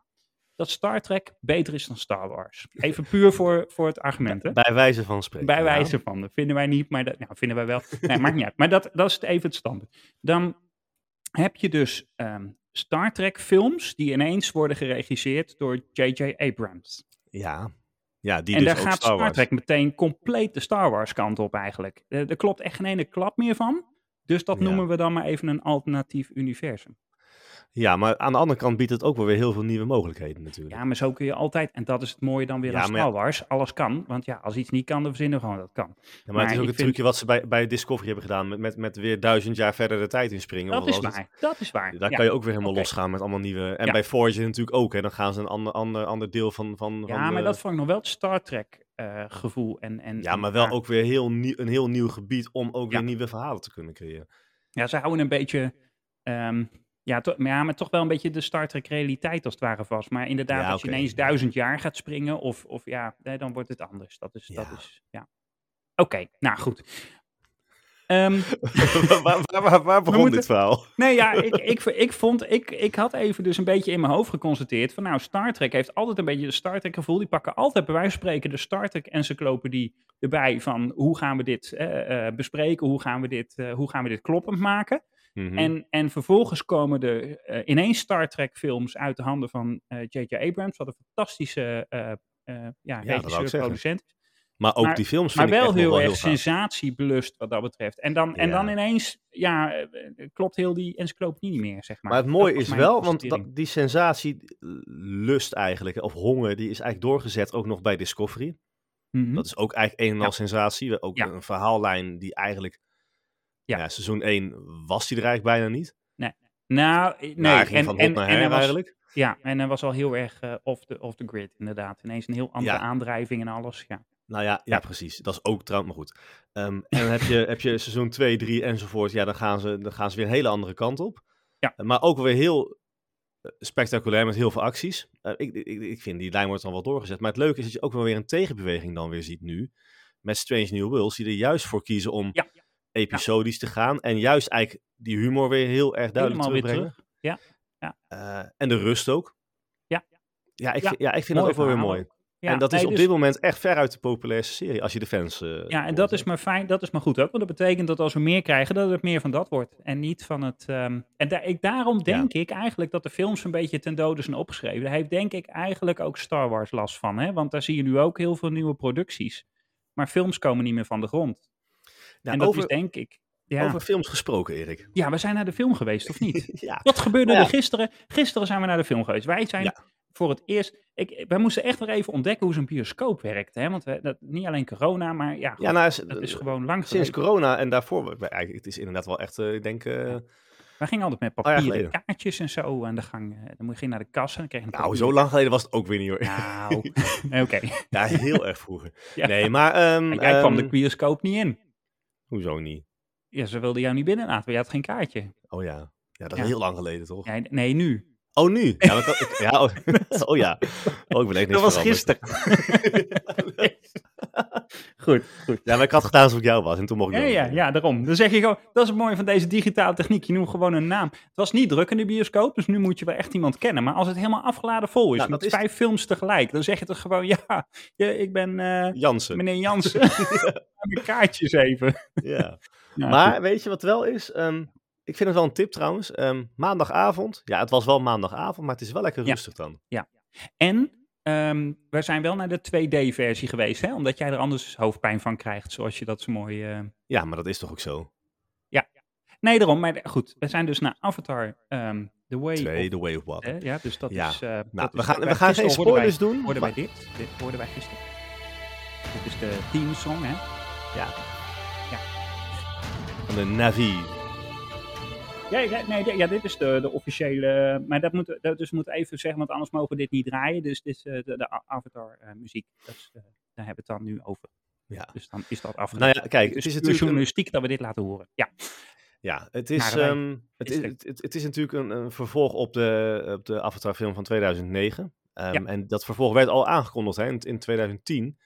Speaker 2: dat Star Trek beter is dan Star Wars. Even puur voor, voor het argument, hè?
Speaker 1: Bij wijze van spreken.
Speaker 2: Bij
Speaker 1: ja.
Speaker 2: wijze van, dat vinden wij niet, maar dat nou, vinden wij wel. Nee, maakt niet uit. Maar dat, dat is het even het standpunt. Dan heb je dus ehm, Star Trek films die ineens worden geregisseerd door J.J. Abrams.
Speaker 1: Ja. Ja, die
Speaker 2: en
Speaker 1: dus
Speaker 2: daar
Speaker 1: ook
Speaker 2: gaat
Speaker 1: Star
Speaker 2: Star,
Speaker 1: Wars.
Speaker 2: Trek meteen compleet de Star Wars kant op eigenlijk. Eh, Er klopt echt geen ene klap meer van. Dus dat
Speaker 1: Ja.
Speaker 2: noemen we dan maar even een alternatief universum.
Speaker 1: Ja, maar aan de andere kant biedt het ook wel weer heel veel nieuwe mogelijkheden natuurlijk.
Speaker 2: Ja, maar zo kun je altijd, en dat is het mooie dan weer
Speaker 1: Ja,
Speaker 2: aan
Speaker 1: maar ja.
Speaker 2: Star Wars, alles kan. Want ja, als iets niet kan, dan verzinnen we gewoon dat kan.
Speaker 1: Ja, maar,
Speaker 2: maar
Speaker 1: het is ook
Speaker 2: ik
Speaker 1: het
Speaker 2: vind-
Speaker 1: trucje wat ze bij, bij Discovery hebben gedaan. Met, met, met weer duizend jaar verder de tijd inspringen.
Speaker 2: Dat
Speaker 1: want
Speaker 2: is
Speaker 1: als het-
Speaker 2: waar, dat is waar.
Speaker 1: Daar
Speaker 2: ja.
Speaker 1: kan je ook weer helemaal
Speaker 2: Oké.
Speaker 1: losgaan met allemaal nieuwe... En
Speaker 2: Ja.
Speaker 1: bij Voyager natuurlijk ook. Hè. Dan gaan ze een ander, ander, ander deel van... van
Speaker 2: Ja,
Speaker 1: van
Speaker 2: maar
Speaker 1: de-
Speaker 2: dat vond ik nog wel het Star Trek eh, gevoel. En, en,
Speaker 1: eh, ja,
Speaker 2: en-
Speaker 1: maar wel ook weer heel nieuw, een heel nieuw gebied om ook weer
Speaker 2: Ja.
Speaker 1: nieuwe verhalen te kunnen creëren.
Speaker 2: Ja, ze houden een beetje... ehm, ja, to- maar ja, maar toch wel een beetje de Star Trek realiteit als het ware vast. Maar inderdaad,
Speaker 1: Ja,
Speaker 2: als je
Speaker 1: oké.
Speaker 2: ineens duizend jaar gaat springen of, of ja, nee, dan wordt het anders. Dat is,
Speaker 1: Ja.
Speaker 2: dat is, ja. Oké, nou goed. Ehm,
Speaker 1: waar, waar, waar, waar begon
Speaker 2: moeten-
Speaker 1: dit verhaal?
Speaker 2: Nee, ja, ik, ik, ik vond, ik, ik had even dus een beetje in mijn hoofd geconstateerd van nou, Star Trek heeft altijd een beetje de Star Trek gevoel. Die pakken altijd bij wijze van spreken de Star Trek encyclopedie erbij van hoe gaan we dit eh, eh, bespreken, hoe gaan we dit, eh, hoe gaan we dit kloppend maken.
Speaker 1: Mhm.
Speaker 2: En, en vervolgens komen er eh, ineens Star Trek films uit de handen van eh, J.J. Abrams, wat een fantastische eh, eh ja,
Speaker 1: wou ik
Speaker 2: regisseur,
Speaker 1: zeggen.
Speaker 2: producent is.
Speaker 1: Maar ook
Speaker 2: Maar-
Speaker 1: die films
Speaker 2: Maar
Speaker 1: vind ik
Speaker 2: wel
Speaker 1: echt nog
Speaker 2: heel
Speaker 1: wel
Speaker 2: erg
Speaker 1: heel gaaf.
Speaker 2: sensatiebelust wat dat betreft. En dan, en
Speaker 1: Ja.
Speaker 2: dan ineens, ja, eh, klopt heel die encyclopedie niet meer, zeg maar.
Speaker 1: Maar het
Speaker 2: Dat
Speaker 1: mooie
Speaker 2: was
Speaker 1: is
Speaker 2: mijn
Speaker 1: wel, want
Speaker 2: constatering.
Speaker 1: dat- die sensatie, eh, lust eigenlijk, of honger, die is eigenlijk doorgezet ook nog bij Discovery.
Speaker 2: Mhm.
Speaker 1: Dat is ook eigenlijk een en al
Speaker 2: Ja.
Speaker 1: sensatie. Ook
Speaker 2: Ja.
Speaker 1: een verhaallijn die eigenlijk...
Speaker 2: Ja.
Speaker 1: Ja. seizoen 1 was die er eigenlijk bijna niet.
Speaker 2: Nou, eh, nee.
Speaker 1: Nee, hij ging
Speaker 2: en,
Speaker 1: van hot
Speaker 2: en,
Speaker 1: naar
Speaker 2: en
Speaker 1: her
Speaker 2: hij was,
Speaker 1: eigenlijk.
Speaker 2: Ja, en hij was al heel erg eh, off, the, off the grid, inderdaad. Ineens een heel andere
Speaker 1: Ja.
Speaker 2: aandrijving en alles. Ja.
Speaker 1: Nou ja, ja,
Speaker 2: Ja.
Speaker 1: precies. Dat is ook trouwens, maar goed. Ehm, en dan heb je, heb je seizoen 2, 3 enzovoort. Ja, dan gaan, ze, dan gaan ze weer een hele andere kant op.
Speaker 2: Ja.
Speaker 1: Eh, Maar ook weer heel eh, spectaculair met heel veel acties. Eh, ik, ik, ik vind, die lijn wordt dan wel doorgezet. Maar het leuke is dat je ook wel weer een tegenbeweging dan weer ziet nu. Met Strange New Worlds, die er juist voor kiezen om
Speaker 2: Ja.
Speaker 1: episodisch te gaan. En juist eigenlijk die humor weer heel erg duidelijk
Speaker 2: Helemaal weer
Speaker 1: terugbrengen.
Speaker 2: terug. Ja,
Speaker 1: Eh, en de rust ook.
Speaker 2: Ja.
Speaker 1: Ja, ik,
Speaker 2: Ja,
Speaker 1: vind- ja, ik vind dat
Speaker 2: mooi
Speaker 1: ook wel weer
Speaker 2: verhaal.
Speaker 1: mooi.
Speaker 2: Ja,
Speaker 1: en dat
Speaker 2: nee,
Speaker 1: is op
Speaker 2: dus-
Speaker 1: dit moment echt veruit de populairste serie, als je de fans... eh,
Speaker 2: Ja, en
Speaker 1: hoort,
Speaker 2: dat
Speaker 1: hè.
Speaker 2: is maar fijn, dat is maar goed ook. Want dat betekent dat als we meer krijgen, dat het meer van dat wordt. En niet van het. ehm, en daar ik, daarom denk ik eigenlijk dat de films een beetje ten dode zijn opgeschreven. Daar heeft denk ik eigenlijk ook Star Wars last van. Hè? Want daar zie je nu ook heel veel nieuwe producties. Maar films komen niet meer van de grond.
Speaker 1: Nou,
Speaker 2: en dat
Speaker 1: over,
Speaker 2: is denk ik. Ja.
Speaker 1: over films gesproken, Erik.
Speaker 2: ja, we zijn naar de film geweest, of niet?
Speaker 1: ja.
Speaker 2: Wat gebeurde
Speaker 1: Ja.
Speaker 2: er gisteren? Gisteren zijn we naar de film geweest. Wij zijn
Speaker 1: Ja.
Speaker 2: voor het eerst. Ik, wij moesten echt nog even ontdekken hoe zo'n bioscoop werkt. Hè? Want we, dat, niet alleen corona, maar ja,
Speaker 1: Ja, nou, is-
Speaker 2: dat is gewoon lang
Speaker 1: sinds
Speaker 2: geleden.
Speaker 1: corona en daarvoor... we- we- eigenlijk, Het is inderdaad wel echt, eh, ik denk... eh,
Speaker 2: Wij gingen altijd met
Speaker 1: jaar
Speaker 2: papieren
Speaker 1: geleden.
Speaker 2: kaartjes en zo aan de gang. Eh, Dan moest je naar de kassa en dan kreeg je een
Speaker 1: nou,
Speaker 2: papier.
Speaker 1: zo lang geleden was het ook weer niet, hoor.
Speaker 2: Nou, nee, oké.
Speaker 1: Ja, heel erg vroeger.
Speaker 2: Ja.
Speaker 1: Nee, maar... ehm,
Speaker 2: Maar Jij kwam de
Speaker 1: ehm,
Speaker 2: bioscoop niet in.
Speaker 1: Hoezo niet?
Speaker 2: Ja, ze wilden jou niet binnen laten, maar je had geen kaartje.
Speaker 1: Oh ja. Ja, dat is
Speaker 2: Ja.
Speaker 1: heel lang geleden, toch?
Speaker 2: Nee, nee nu.
Speaker 1: Oh, nu? Ja, want dat- ik- ja, oh, oh ja. Oh, ik ben echt niks veranderd.
Speaker 2: Goed, goed.
Speaker 1: Ja, maar ik had gedaan alsof ik jou was en toen mocht ik
Speaker 2: Ja,
Speaker 1: jou
Speaker 2: ja,
Speaker 1: niet.
Speaker 2: ja, daarom. Dan zeg je gewoon, dat is het mooie van deze digitale techniek. Je noemt gewoon een naam. Het was niet druk in de bioscoop, dus nu moet je wel echt iemand kennen. Maar als het helemaal afgeladen vol is,
Speaker 1: Nou,
Speaker 2: met
Speaker 1: dat is-
Speaker 2: vijf films tegelijk, dan zeg je toch gewoon, ja, ja, ik ben eh,
Speaker 1: Jansen.
Speaker 2: meneer Jansen. Mijn kaartjes even.
Speaker 1: Ja.
Speaker 2: Ja,
Speaker 1: Maar weet je wat wel is? Ehm, ik vind het wel een tip trouwens. Ehm, maandagavond. Ja, het was wel maandagavond, maar het is wel lekker
Speaker 2: Ja.
Speaker 1: rustig dan.
Speaker 2: En ehm wij zijn wel naar de 2D-versie geweest, hè? omdat jij er anders hoofdpijn van krijgt, zoals je dat zo mooi... eh,
Speaker 1: Ja, maar dat is toch ook zo?
Speaker 2: Nee, daarom. Maar goed, we zijn dus naar Avatar, ehm The Way
Speaker 1: Twee,
Speaker 2: of...
Speaker 1: The Way of Water.
Speaker 2: Hè? Ja, dus dat
Speaker 1: Ja.
Speaker 2: is... eh,
Speaker 1: Nou,
Speaker 2: dat
Speaker 1: we
Speaker 2: is-
Speaker 1: gaan, we
Speaker 2: wij-
Speaker 1: gaan geen
Speaker 2: gisteren hoorden wij-
Speaker 1: spoilers doen.
Speaker 2: Hoorden wij
Speaker 1: maar-
Speaker 2: dit? Dit hoorden wij gisteren. Dit is de theme song, hè?
Speaker 1: Van de Navi.
Speaker 2: Ja, ja, nee, ja, ja, dit is de, de officiële... Maar dat moet, dat dus moet even zeggen, want anders mogen we dit niet draaien. Dus dit is eh, de, eh, de Avatar-muziek. daar hebben we het dan nu over.
Speaker 1: Ja.
Speaker 2: Dus dan is dat afgedaan.
Speaker 1: Nou ja, kijk, het is
Speaker 2: Dus puur
Speaker 1: natuurlijk... een-
Speaker 2: journalistiek dat we dit laten horen. Ja,
Speaker 1: ja, het is,
Speaker 2: Nare wijn.
Speaker 1: ehm, het,
Speaker 2: Is
Speaker 1: is,
Speaker 2: er-
Speaker 1: het, het- het is natuurlijk een, een vervolg op de, op de Avatar-film van 2009. Ehm,
Speaker 2: Ja.
Speaker 1: En dat vervolg werd al aangekondigd hè, in, in 2010.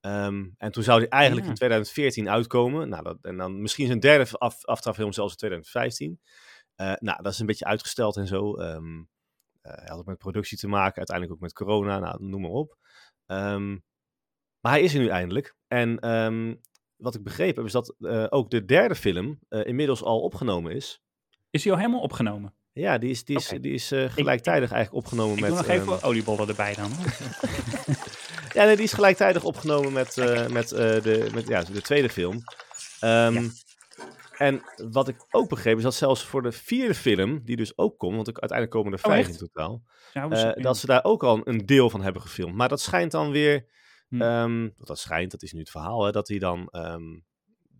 Speaker 1: Ehm, en toen zou die eigenlijk
Speaker 2: Ja.
Speaker 1: in 2014 uitkomen. Nou, dat, en dan misschien zijn derde af, Avatar-film zelfs in 2015. Eh, nou, dat is een beetje uitgesteld en zo. Ehm eh, had ook met productie te maken, uiteindelijk ook met corona, nou, noem maar op. Ehm, maar hij is er nu eindelijk. En ehm, wat ik begreep heb, is dat eh, ook de derde film eh, inmiddels al opgenomen is.
Speaker 2: is die al helemaal opgenomen?
Speaker 1: Ja, die is, die is,
Speaker 2: Oké.
Speaker 1: die is eh, gelijktijdig eigenlijk opgenomen
Speaker 2: Ik
Speaker 1: met...
Speaker 2: doe nog even
Speaker 1: ehm,
Speaker 2: wat oliebollen erbij dan. hoor.
Speaker 1: Ja, nee, die is gelijktijdig opgenomen met, eh, met, eh, de, met ja, de tweede film. Ehm, En wat ik ook begreep is dat zelfs voor de vierde film, die dus ook komt, want ik- uiteindelijk komen er
Speaker 2: Oh,
Speaker 1: vijf in
Speaker 2: echt? Oh,
Speaker 1: totaal,
Speaker 2: Zouden ze-
Speaker 1: eh, dat ze daar ook al een deel van hebben gefilmd. Maar dat schijnt dan weer,
Speaker 2: Hmm.
Speaker 1: ehm, want dat schijnt, dat is nu het verhaal, hè, dat hij dan ehm,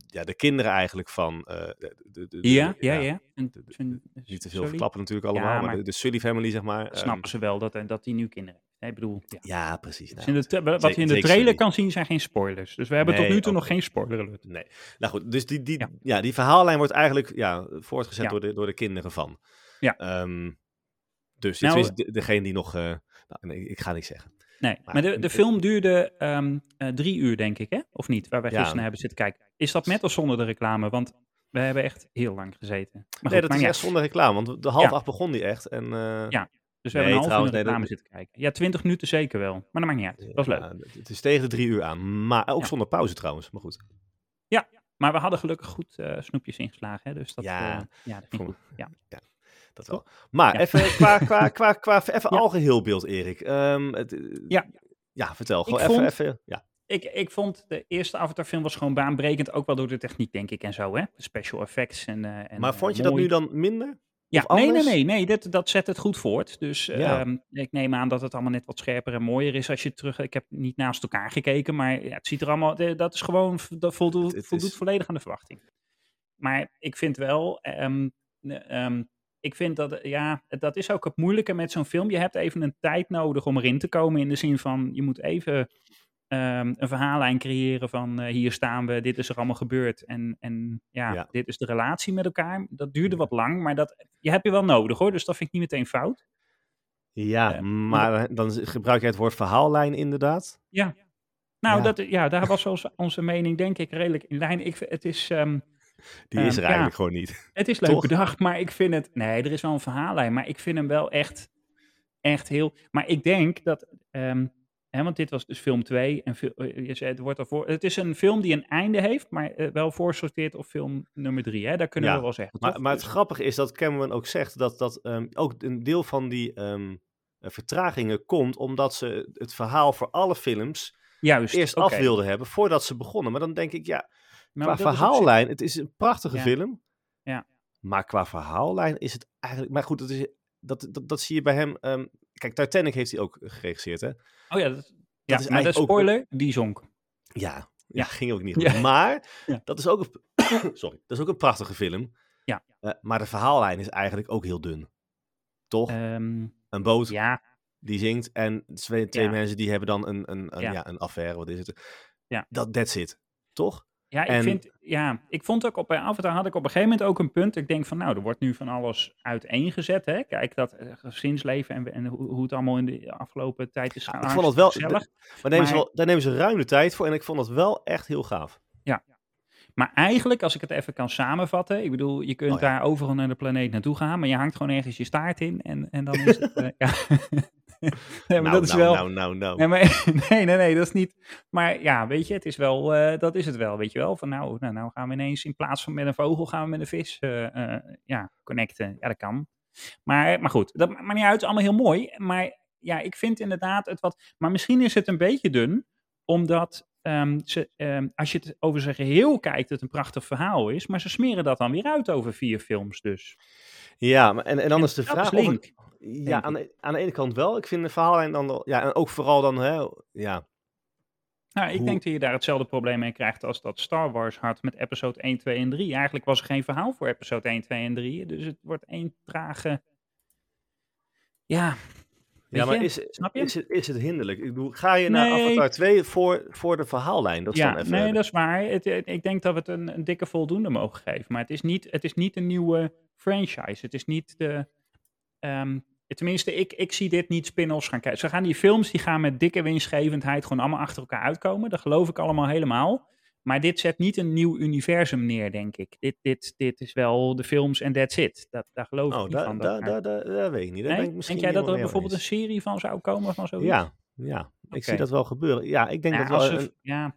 Speaker 1: ja, de kinderen eigenlijk van... eh, de, de, de-
Speaker 2: ja,
Speaker 1: de-
Speaker 2: ja, ja. En-
Speaker 1: de- de-
Speaker 2: en-
Speaker 1: Niet te veel
Speaker 2: sorry?
Speaker 1: verklappen natuurlijk allemaal, maar,
Speaker 2: maar-
Speaker 1: de, de Sully family zeg maar. ehm,
Speaker 2: Snappen ze wel dat, eh, dat die nu kinderen. Nee, ik bedoel, ja.
Speaker 1: ja, precies. nou
Speaker 2: Dus in de tra- wat
Speaker 1: zeker-
Speaker 2: je in de
Speaker 1: zeker
Speaker 2: trailer
Speaker 1: niet.
Speaker 2: kan zien zijn geen spoilers. Dus we hebben tot
Speaker 1: Nee,
Speaker 2: nu toe
Speaker 1: oké.
Speaker 2: nog geen spoiler alert.
Speaker 1: Nee. Nou goed, dus die, die,
Speaker 2: Ja.
Speaker 1: ja. die verhaallijn wordt eigenlijk ja, voortgezet
Speaker 2: Ja.
Speaker 1: Door, de, door de kinderen van.
Speaker 2: Ja.
Speaker 1: Ehm, dus
Speaker 2: Nou,
Speaker 1: dit is de- degene die nog... eh, nou, nee, ik ga niks zeggen.
Speaker 2: Nee, maar,
Speaker 1: Maar
Speaker 2: de,
Speaker 1: een-
Speaker 2: de film duurde ehm, eh, drie uur, denk ik, hè? Of niet? Waar wij
Speaker 1: Ja.
Speaker 2: gisteren naar hebben zitten kijken. Is dat met of zonder de reclame? Want we hebben echt heel lang gezeten. Maar goed,
Speaker 1: nee, dat
Speaker 2: maakt
Speaker 1: is
Speaker 2: niet
Speaker 1: echt
Speaker 2: uit.
Speaker 1: zonder reclame, want de half
Speaker 2: Ja.
Speaker 1: acht begon die echt. En, eh,
Speaker 2: Ja, Dus we
Speaker 1: Nee,
Speaker 2: hebben een half uur
Speaker 1: trouwens,
Speaker 2: naar
Speaker 1: nee, dat-
Speaker 2: reclame zitten kijken. Ja, twintig minuten zeker wel. Maar dat maakt niet uit. Dat was leuk.
Speaker 1: ja, het is tegen de drie uur aan, maar ook
Speaker 2: Ja.
Speaker 1: zonder pauze trouwens. Maar goed,
Speaker 2: Maar we hadden gelukkig goed eh, snoepjes ingeslagen. Hè? Dus dat,
Speaker 1: Ja,
Speaker 2: eh, ja, dat
Speaker 1: kom.
Speaker 2: ging goed. Ja.
Speaker 1: dat wel. Maar
Speaker 2: Ja.
Speaker 1: even qua, qua, qua, qua even
Speaker 2: Ja.
Speaker 1: algeheel beeld, Erik. Ehm, het,
Speaker 2: Ja.
Speaker 1: Ja, vertel. Gewoon
Speaker 2: Ik
Speaker 1: even,
Speaker 2: vond-
Speaker 1: even. Ja.
Speaker 2: Ik, ik vond de eerste Avatar-film was gewoon baanbrekend. Ook wel door de techniek, denk ik, en zo, hè? Special effects en. eh, en
Speaker 1: Maar
Speaker 2: eh,
Speaker 1: vond je dat
Speaker 2: mooi.
Speaker 1: nu dan minder?
Speaker 2: Ja,
Speaker 1: of
Speaker 2: nee, nee,
Speaker 1: anders?
Speaker 2: nee, nee. Dat, dat zet het goed voort. Dus
Speaker 1: Ja.
Speaker 2: ehm, ik neem aan dat het allemaal net wat scherper en mooier is als je terug. Ik heb niet naast elkaar gekeken, maar ja, het ziet er allemaal. eh, Dat is gewoon. v- Dat voldoet,
Speaker 1: Het- het
Speaker 2: voldoet
Speaker 1: is-
Speaker 2: volledig aan de verwachting. Maar ik vind wel. ehm, ne- ehm, ik vind dat, eh, ja, dat is ook het moeilijke met zo'n film. Je hebt even een tijd nodig om erin te komen. In de zin van, je moet even ehm, een verhaallijn creëren van eh, hier staan we, dit is er allemaal gebeurd. En, en ja,
Speaker 1: Ja.
Speaker 2: dit is de relatie met elkaar. Dat duurde wat lang, maar dat je hebt je wel nodig hoor. Dus dat vind ik niet meteen fout.
Speaker 1: Ja,
Speaker 2: Eh,
Speaker 1: maar dan gebruik jij het woord verhaallijn inderdaad.
Speaker 2: Nou,
Speaker 1: Ja.
Speaker 2: Dat, ja, daar was onze, onze mening denk ik redelijk in lijn. Ik, vind- het, is, ehm,
Speaker 1: Die is
Speaker 2: Ehm,
Speaker 1: er
Speaker 2: ja.
Speaker 1: eigenlijk gewoon niet.
Speaker 2: het is leuk
Speaker 1: Toch?
Speaker 2: bedacht, maar ik vind het... Nee, er is wel een verhaallijn, maar ik vind hem wel echt, echt heel... Maar ik denk dat... ehm, hè, want dit was dus film 2. En fil- eh, je zei, het, wordt al voor, het is een film die een einde heeft, maar eh, wel voorsorteert op film nummer 3. Hè? Dat kunnen
Speaker 1: Ja,
Speaker 2: we wel zeggen.
Speaker 1: Maar,
Speaker 2: toch?
Speaker 1: maar
Speaker 2: Dus-
Speaker 1: het grappige is dat Cameron ook zegt dat, dat ehm, ook een deel van die ehm, eh, vertragingen komt omdat ze het verhaal voor alle films
Speaker 2: Juist.
Speaker 1: eerst
Speaker 2: oké.
Speaker 1: af wilden hebben voordat ze begonnen. Maar dan denk ik, ja,
Speaker 2: Maar
Speaker 1: qua
Speaker 2: dat is op zich-
Speaker 1: verhaallijn, het is een prachtige
Speaker 2: Ja.
Speaker 1: film.
Speaker 2: Ja.
Speaker 1: Maar qua verhaallijn is het eigenlijk... Maar goed, dat, is, dat, dat, dat zie je bij hem... ehm, kijk, Titanic heeft hij ook geregisseerd, hè?
Speaker 2: Oh ja, dat, ja
Speaker 1: is
Speaker 2: maar de
Speaker 1: eigenlijk ook-
Speaker 2: spoiler, die zonk.
Speaker 1: Ja,
Speaker 2: Ja.
Speaker 1: ja. ging ook niet goed.
Speaker 2: Ja.
Speaker 1: Maar
Speaker 2: Ja.
Speaker 1: dat is ook een... Sorry, dat is ook een prachtige film.
Speaker 2: Ja.
Speaker 1: Eh, maar de verhaallijn is eigenlijk ook heel dun. Toch?
Speaker 2: Ehm,
Speaker 1: een boot
Speaker 2: ja,
Speaker 1: die zingt en twee, twee
Speaker 2: Ja.
Speaker 1: mensen die hebben dan een, een, een,
Speaker 2: Ja.
Speaker 1: ja. een affaire, wat is het?
Speaker 2: Ja.
Speaker 1: Dat, that's it. Toch?
Speaker 2: ja, ik
Speaker 1: En-
Speaker 2: vind, ja, ik vond ook op eh, bij Avatar had ik op een gegeven moment ook een punt. Ik denk van, nou, er wordt nu van alles uiteengezet. Hè? Kijk, dat eh, gezinsleven en, en hoe, hoe het allemaal in de afgelopen tijd is
Speaker 1: Ja, ik
Speaker 2: gaan.
Speaker 1: vond het wel-
Speaker 2: Ah, gezellig.
Speaker 1: Maar, nemen ze
Speaker 2: Maar-
Speaker 1: wel, daar nemen ze ruim de tijd voor en ik vond dat wel echt heel gaaf.
Speaker 2: Maar eigenlijk, als ik het even kan samenvatten. Ik bedoel, je kunt
Speaker 1: Oh ja.
Speaker 2: daar overal naar de planeet naartoe gaan. Maar je hangt gewoon ergens je staart in. En, en dan is het... eh, ja. nee, maar
Speaker 1: nou,
Speaker 2: dat is
Speaker 1: nou,
Speaker 2: wel...
Speaker 1: nou, nou, nou.
Speaker 2: Nee, maar, nee, nee, nee, dat is niet. Maar ja, weet je, het is wel, eh, dat is het wel, weet je wel. Van nou, nou, nou gaan we ineens in plaats van met een vogel, gaan we met een vis eh, eh, ja, connecten. Ja, dat kan. Maar, maar goed, dat ma- maakt niet uit, allemaal heel mooi. Maar ja, ik vind inderdaad het wat. Maar misschien is het een beetje dun, omdat ehm, ze, ehm, als je het over zijn geheel kijkt, het een prachtig verhaal is. Maar ze smeren dat dan weer uit over vier films, dus.
Speaker 1: Ja, maar, en, en dan is de
Speaker 2: dat
Speaker 1: vraag...
Speaker 2: is
Speaker 1: of het-
Speaker 2: link.
Speaker 1: ja,
Speaker 2: denk
Speaker 1: aan de, aan de ene kant wel. Ik vind de verhaallijn dan... wel- Ja, en ook vooral dan... Hè, ja,
Speaker 2: Nou, ik
Speaker 1: Hoe-
Speaker 2: denk dat je daar hetzelfde probleem mee krijgt als dat Star Wars had met episode 1, 2 en 3. Eigenlijk was er geen verhaal voor episode 1, 2 en 3. Dus het wordt één trage... Ja, Weet
Speaker 1: ja maar
Speaker 2: je?
Speaker 1: is,
Speaker 2: snap je?
Speaker 1: is, het, is het hinderlijk? Ik bedoel, ga je naar
Speaker 2: Nee.
Speaker 1: Avatar 2 voor, voor de verhaallijn? Dat is
Speaker 2: ja
Speaker 1: dan even... eh,
Speaker 2: nee, dat is waar. Het, het- ik denk dat we het een, een dikke voldoende mogen geven. Maar het is niet, het is niet een nieuwe franchise. Het is niet de... ehm, tenminste, ik, ik zie dit niet spin-offs gaan kijken. Ze gaan die films, die gaan met dikke winstgevendheid gewoon allemaal achter elkaar uitkomen. Dat geloof ik allemaal helemaal. Maar dit zet niet een nieuw universum neer, denk ik. Dit, dit, dit is wel de films en that's it. Dat, daar geloof ik
Speaker 1: Oh,
Speaker 2: niet
Speaker 1: daar
Speaker 2: van.
Speaker 1: daar
Speaker 2: daar-
Speaker 1: daar daar daar weet ik niet. Daar
Speaker 2: Nee?
Speaker 1: ben ik misschien
Speaker 2: Denk jij
Speaker 1: niet helemaal
Speaker 2: dat er
Speaker 1: mee
Speaker 2: bijvoorbeeld een
Speaker 1: eens.
Speaker 2: serie van zou komen van zoiets?
Speaker 1: Ja, ja. Ik zie
Speaker 2: Oké.
Speaker 1: dat wel gebeuren. Ja, ik denk
Speaker 2: Nou,
Speaker 1: dat
Speaker 2: als
Speaker 1: wel...
Speaker 2: ze-
Speaker 1: een-
Speaker 2: ja.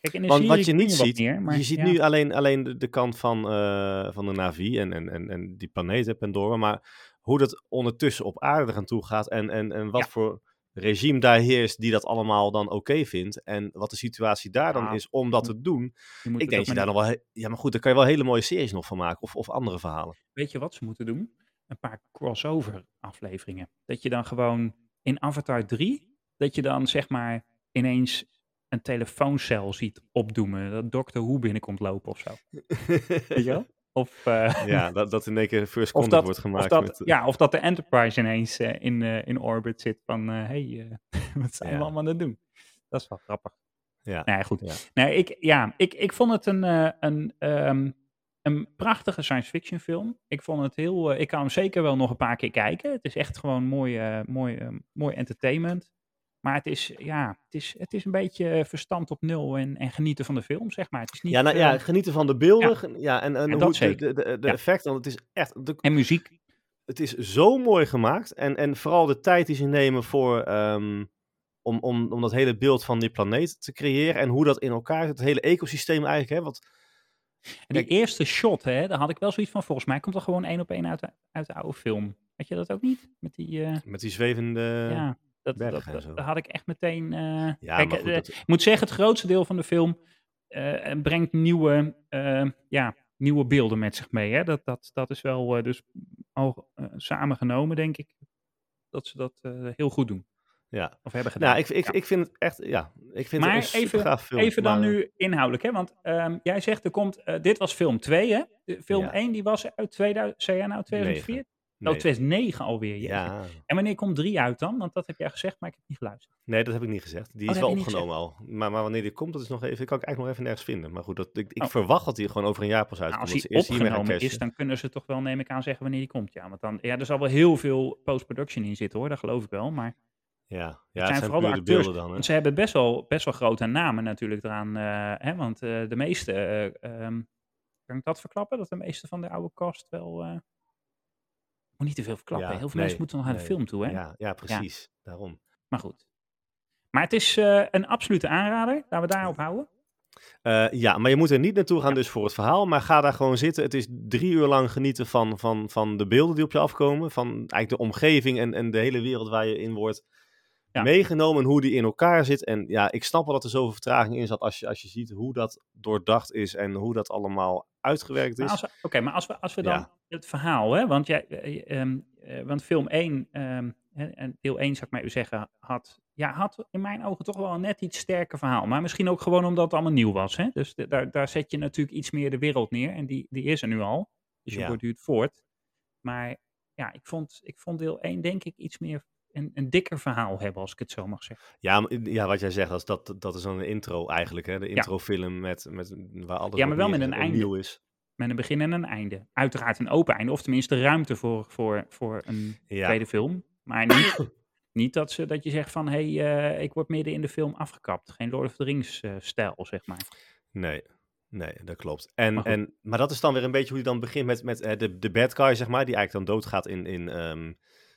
Speaker 2: Kijk, in een
Speaker 1: Want
Speaker 2: serie
Speaker 1: wat je
Speaker 2: kun
Speaker 1: niet
Speaker 2: wat
Speaker 1: ziet,
Speaker 2: meer, maar
Speaker 1: je ziet
Speaker 2: ja.
Speaker 1: nu alleen, alleen de, de kant van, eh, van de Navi en, en, en, en die planeet hè, Pandora, maar hoe dat ondertussen op aarde gaan toe gaat en, en, en wat
Speaker 2: Ja.
Speaker 1: voor regime daar heerst die dat allemaal dan oké vindt en wat de situatie daar dan
Speaker 2: Ja.
Speaker 1: is om dat te doen.
Speaker 2: Je moet
Speaker 1: Ik
Speaker 2: het
Speaker 1: denk
Speaker 2: ook
Speaker 1: dat je
Speaker 2: maar
Speaker 1: daar nog wel... he- Ja, maar goed, daar kan je wel hele mooie series nog van maken of, of andere verhalen.
Speaker 2: weet je wat ze moeten doen? Een paar crossover afleveringen. Dat je dan gewoon in Avatar 3, dat je dan zeg maar ineens een telefooncel ziet opdoemen. Dat Doctor Who binnenkomt lopen of zo. Weet je wel? Of, eh,
Speaker 1: ja, dat, dat in één keer first
Speaker 2: of,
Speaker 1: contact
Speaker 2: dat,
Speaker 1: wordt
Speaker 2: of,
Speaker 1: gemaakt
Speaker 2: dat,
Speaker 1: met... eh,
Speaker 2: ja, of dat de Enterprise ineens eh, in, eh, in orbit zit van eh, hey, eh, wat zijn we
Speaker 1: Ja.
Speaker 2: allemaal aan het doen? Dat is wel grappig.
Speaker 1: Ja.
Speaker 2: Nee, goed.
Speaker 1: Ja.
Speaker 2: Nee, ik, ja, ik, ik vond het een, eh, een, ehm, een prachtige science fiction film. Ik vond het heel. eh, ik kan hem zeker wel nog een paar keer kijken. Het is echt gewoon mooi, eh, mooi, eh, mooi entertainment. Maar het is, ja, het is, het is een beetje eh, verstand op nul en, en genieten van de film, zeg maar. Het is niet,
Speaker 1: ja, nou,
Speaker 2: eh,
Speaker 1: ja, genieten van de beelden. gen- Ja, en, en
Speaker 2: Ja, dat
Speaker 1: hoe de,
Speaker 2: zeker.
Speaker 1: de, de, de
Speaker 2: Ja.
Speaker 1: effecten. Want het is echt. de-
Speaker 2: en muziek.
Speaker 1: het is zo mooi gemaakt. En, en vooral de tijd die ze nemen voor. ehm, om, om, om dat hele beeld van die planeet te creëren. En hoe dat in elkaar zit. Het hele ecosysteem eigenlijk. Hè, want,
Speaker 2: En die
Speaker 1: Kijk-
Speaker 2: eerste shot, hè, daar had ik wel zoiets van. Volgens mij komt er gewoon één op één uit, de- uit de oude film. Weet je dat ook niet? Met die. eh,
Speaker 1: met die zwevende.
Speaker 2: ja, Dat, dat,
Speaker 1: Bergen en
Speaker 2: dat,
Speaker 1: zo.
Speaker 2: dat had ik echt meteen. eh,
Speaker 1: Ja,
Speaker 2: kijk,
Speaker 1: maar goed,
Speaker 2: eh,
Speaker 1: dat-
Speaker 2: ik moet zeggen, het grootste deel van de film eh, brengt nieuwe, eh, ja, nieuwe beelden met zich mee. Hè? Dat, dat, dat is wel eh, dus al eh, samengenomen, denk ik, dat ze dat eh, heel goed doen.
Speaker 1: Ja.
Speaker 2: Of hebben gedaan.
Speaker 1: Nou, ik, ik,
Speaker 2: eh, Ja.
Speaker 1: ik vind het echt, ja, ik vind
Speaker 2: Maar
Speaker 1: het een
Speaker 2: even-
Speaker 1: supergaaf film.
Speaker 2: Even dan
Speaker 1: maar, eh,
Speaker 2: nu inhoudelijk, hè? want ehm, jij zegt er komt, eh, dit was film 2, hè? De- Film
Speaker 1: Ja.
Speaker 2: 1 die was uit 2000, zei jij nou 2004?
Speaker 1: nee.
Speaker 2: Oh, 2009 alweer. jeetje.
Speaker 1: Ja,
Speaker 2: En wanneer komt 3 uit dan? Want dat heb jij gezegd, maar ik heb niet geluisterd.
Speaker 1: nee, dat heb ik niet gezegd. Die
Speaker 2: Oh,
Speaker 1: is
Speaker 2: dat
Speaker 1: wel
Speaker 2: heb je niet
Speaker 1: opgenomen al. Maar, maar wanneer die komt, dat is nog even, dat kan ik eigenlijk nog even nergens vinden. Maar goed, dat, ik, ik
Speaker 2: Oh.
Speaker 1: verwacht dat die gewoon over een jaar pas
Speaker 2: Nou,
Speaker 1: uitkomt. dat
Speaker 2: als die
Speaker 1: ze eerst hiermee gaan
Speaker 2: opgenomen is,
Speaker 1: cashen.
Speaker 2: dan kunnen ze toch wel, neem ik aan, zeggen wanneer die komt. Ja, want dan, ja, er zal wel heel veel post-production in zitten hoor, dat geloof ik wel. Maar
Speaker 1: Ja, ja
Speaker 2: zijn
Speaker 1: het zijn
Speaker 2: vooral de
Speaker 1: puur de
Speaker 2: acteurs.
Speaker 1: beelden dan. Hè?
Speaker 2: Want ze hebben best wel, best wel grote namen natuurlijk eraan. eh, hè, want eh, de meeste, eh, ehm, kan ik dat verklappen? Dat de meeste van de oude cast wel... eh, moet niet te veel verklappen.
Speaker 1: Ja,
Speaker 2: heel veel
Speaker 1: nee,
Speaker 2: mensen moeten nog naar de
Speaker 1: nee.
Speaker 2: film toe. Hè?
Speaker 1: Ja, ja, precies. Daarom.
Speaker 2: Maar goed. Maar het is eh, een absolute aanrader. Laten we daarop houden.
Speaker 1: Eh, ja, maar je moet er niet naartoe gaan dus voor het verhaal. Maar ga daar gewoon zitten. Het is drie uur lang genieten van, van, van de beelden die op je afkomen. Van eigenlijk de omgeving en, en de hele wereld waar je in wordt
Speaker 2: Ja.
Speaker 1: meegenomen. En hoe die in elkaar zit. En ja, ik snap wel dat er zoveel vertraging in zat. Als je, als je ziet hoe dat doordacht is en hoe dat allemaal uitgewerkt
Speaker 2: Maar
Speaker 1: is.
Speaker 2: Nou, als we- Oké, maar als we, als we dan
Speaker 1: Dus Ja.
Speaker 2: het verhaal, hè, want, jij, eh, ehm, eh, want film 1, ehm, hè, en deel 1 zou ik maar u zeggen, had, ja, had in mijn ogen toch wel een net iets sterker verhaal. Maar misschien ook gewoon omdat het allemaal nieuw was. Hè? Dus de- daar, daar zet je natuurlijk iets meer de wereld neer en die, die is er nu al. Dus je
Speaker 1: Ja.
Speaker 2: borduurt voort. Maar ja, ik vond, ik vond deel 1 denk ik iets meer een, een dikker verhaal hebben, als ik het zo mag zeggen.
Speaker 1: Ja, maar- ja, wat jij zegt, als dat, dat is dan een intro eigenlijk. Hè? De introfilm met, met, waar alles
Speaker 2: Ja, maar wel
Speaker 1: opnieuw-
Speaker 2: met een einde.
Speaker 1: opnieuw is.
Speaker 2: Met een begin en een einde. Uiteraard een open einde, of tenminste ruimte voor, voor, voor een
Speaker 1: Ja.
Speaker 2: tweede film. Maar niet, niet dat, ze, dat je zegt van, hé, hey, eh, ik word midden in de film afgekapt. Geen Lord of the Rings eh, stijl, zeg maar.
Speaker 1: Nee, nee, dat klopt. En,
Speaker 2: Maar
Speaker 1: maar,
Speaker 2: goed.
Speaker 1: en, maar dat is dan weer een beetje hoe hij dan begint met, met eh, de, de bad guy, zeg maar, die eigenlijk dan doodgaat in, in ehm,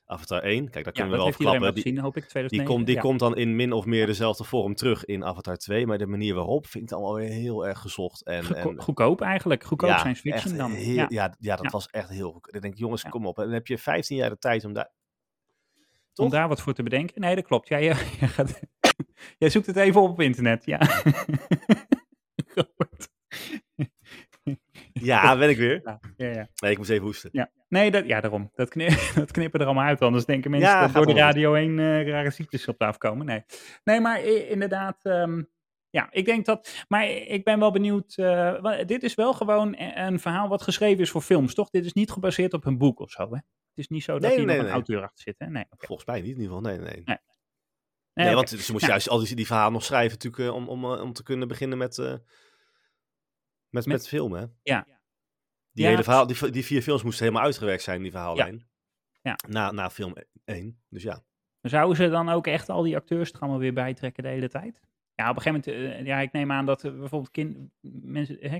Speaker 1: Avatar 1. Kijk, daar
Speaker 2: Ja,
Speaker 1: kunnen
Speaker 2: dat
Speaker 1: we wel
Speaker 2: heeft iedereen wel
Speaker 1: verklappen. Die,
Speaker 2: gezien, hoop ik,
Speaker 1: die,
Speaker 2: 2009.
Speaker 1: komt, die
Speaker 2: ja.
Speaker 1: komt dan in min of meer dezelfde vorm terug in Avatar 2, maar de manier waarop vind ik dan alweer heel erg gezocht. En,
Speaker 2: Goedko-
Speaker 1: en,
Speaker 2: goedkoop eigenlijk, goedkoop
Speaker 1: ja,
Speaker 2: science fiction
Speaker 1: echt
Speaker 2: dan.
Speaker 1: heel-
Speaker 2: ja.
Speaker 1: ja. Ja, dat
Speaker 2: Ja.
Speaker 1: was echt heel goed. Ik denk, jongens,
Speaker 2: Ja.
Speaker 1: kom op. En dan heb je 15 jaar de tijd om daar...
Speaker 2: Om
Speaker 1: toch?
Speaker 2: daar wat voor te bedenken. Nee, dat klopt. Jij, eh, jij, gaat, jij zoekt het even op op internet, ja. Robert.
Speaker 1: Ja, ben ik weer.
Speaker 2: Ja, ja, ja.
Speaker 1: Nee, ik moest even hoesten.
Speaker 2: Nee, dat, ja, daarom. Dat, kni- dat knippen er allemaal uit. Anders denken mensen
Speaker 1: Ja,
Speaker 2: dat
Speaker 1: gaat
Speaker 2: door de
Speaker 1: wel goed.
Speaker 2: radio heen eh, rare ziektes op tafel komen. Nee, nee maar i- inderdaad. ehm, ja, ik denk dat. Maar ik ben wel benieuwd. eh, wa- dit is wel gewoon e- een verhaal wat geschreven is voor films, toch? Dit is niet gebaseerd op een boek of zo. Hè? Het is niet zo dat
Speaker 1: Nee,
Speaker 2: hier
Speaker 1: nee,
Speaker 2: nog een
Speaker 1: nee.
Speaker 2: auteur achter zit. Hè? Nee, oké.
Speaker 1: Volgens mij niet in ieder geval, nee, nee.
Speaker 2: Nee,
Speaker 1: Nee,
Speaker 2: oké.
Speaker 1: want ze moest
Speaker 2: Ja.
Speaker 1: juist al die, die verhalen nog schrijven natuurlijk eh, om, om, eh, om te kunnen beginnen met, eh, met, met filmen. hè?
Speaker 2: Ja.
Speaker 1: Die,
Speaker 2: Ja,
Speaker 1: hele verhaal, die, v- die vier films moesten helemaal uitgewerkt zijn, die verhaallijn.
Speaker 2: Ja.
Speaker 1: Na, na film 1. Dus ja.
Speaker 2: Zouden ze dan ook echt al die acteurs er allemaal weer bij trekken de hele tijd? Ja, op een gegeven moment, eh, ja, ik neem aan dat eh, bijvoorbeeld kin- mensen, hè,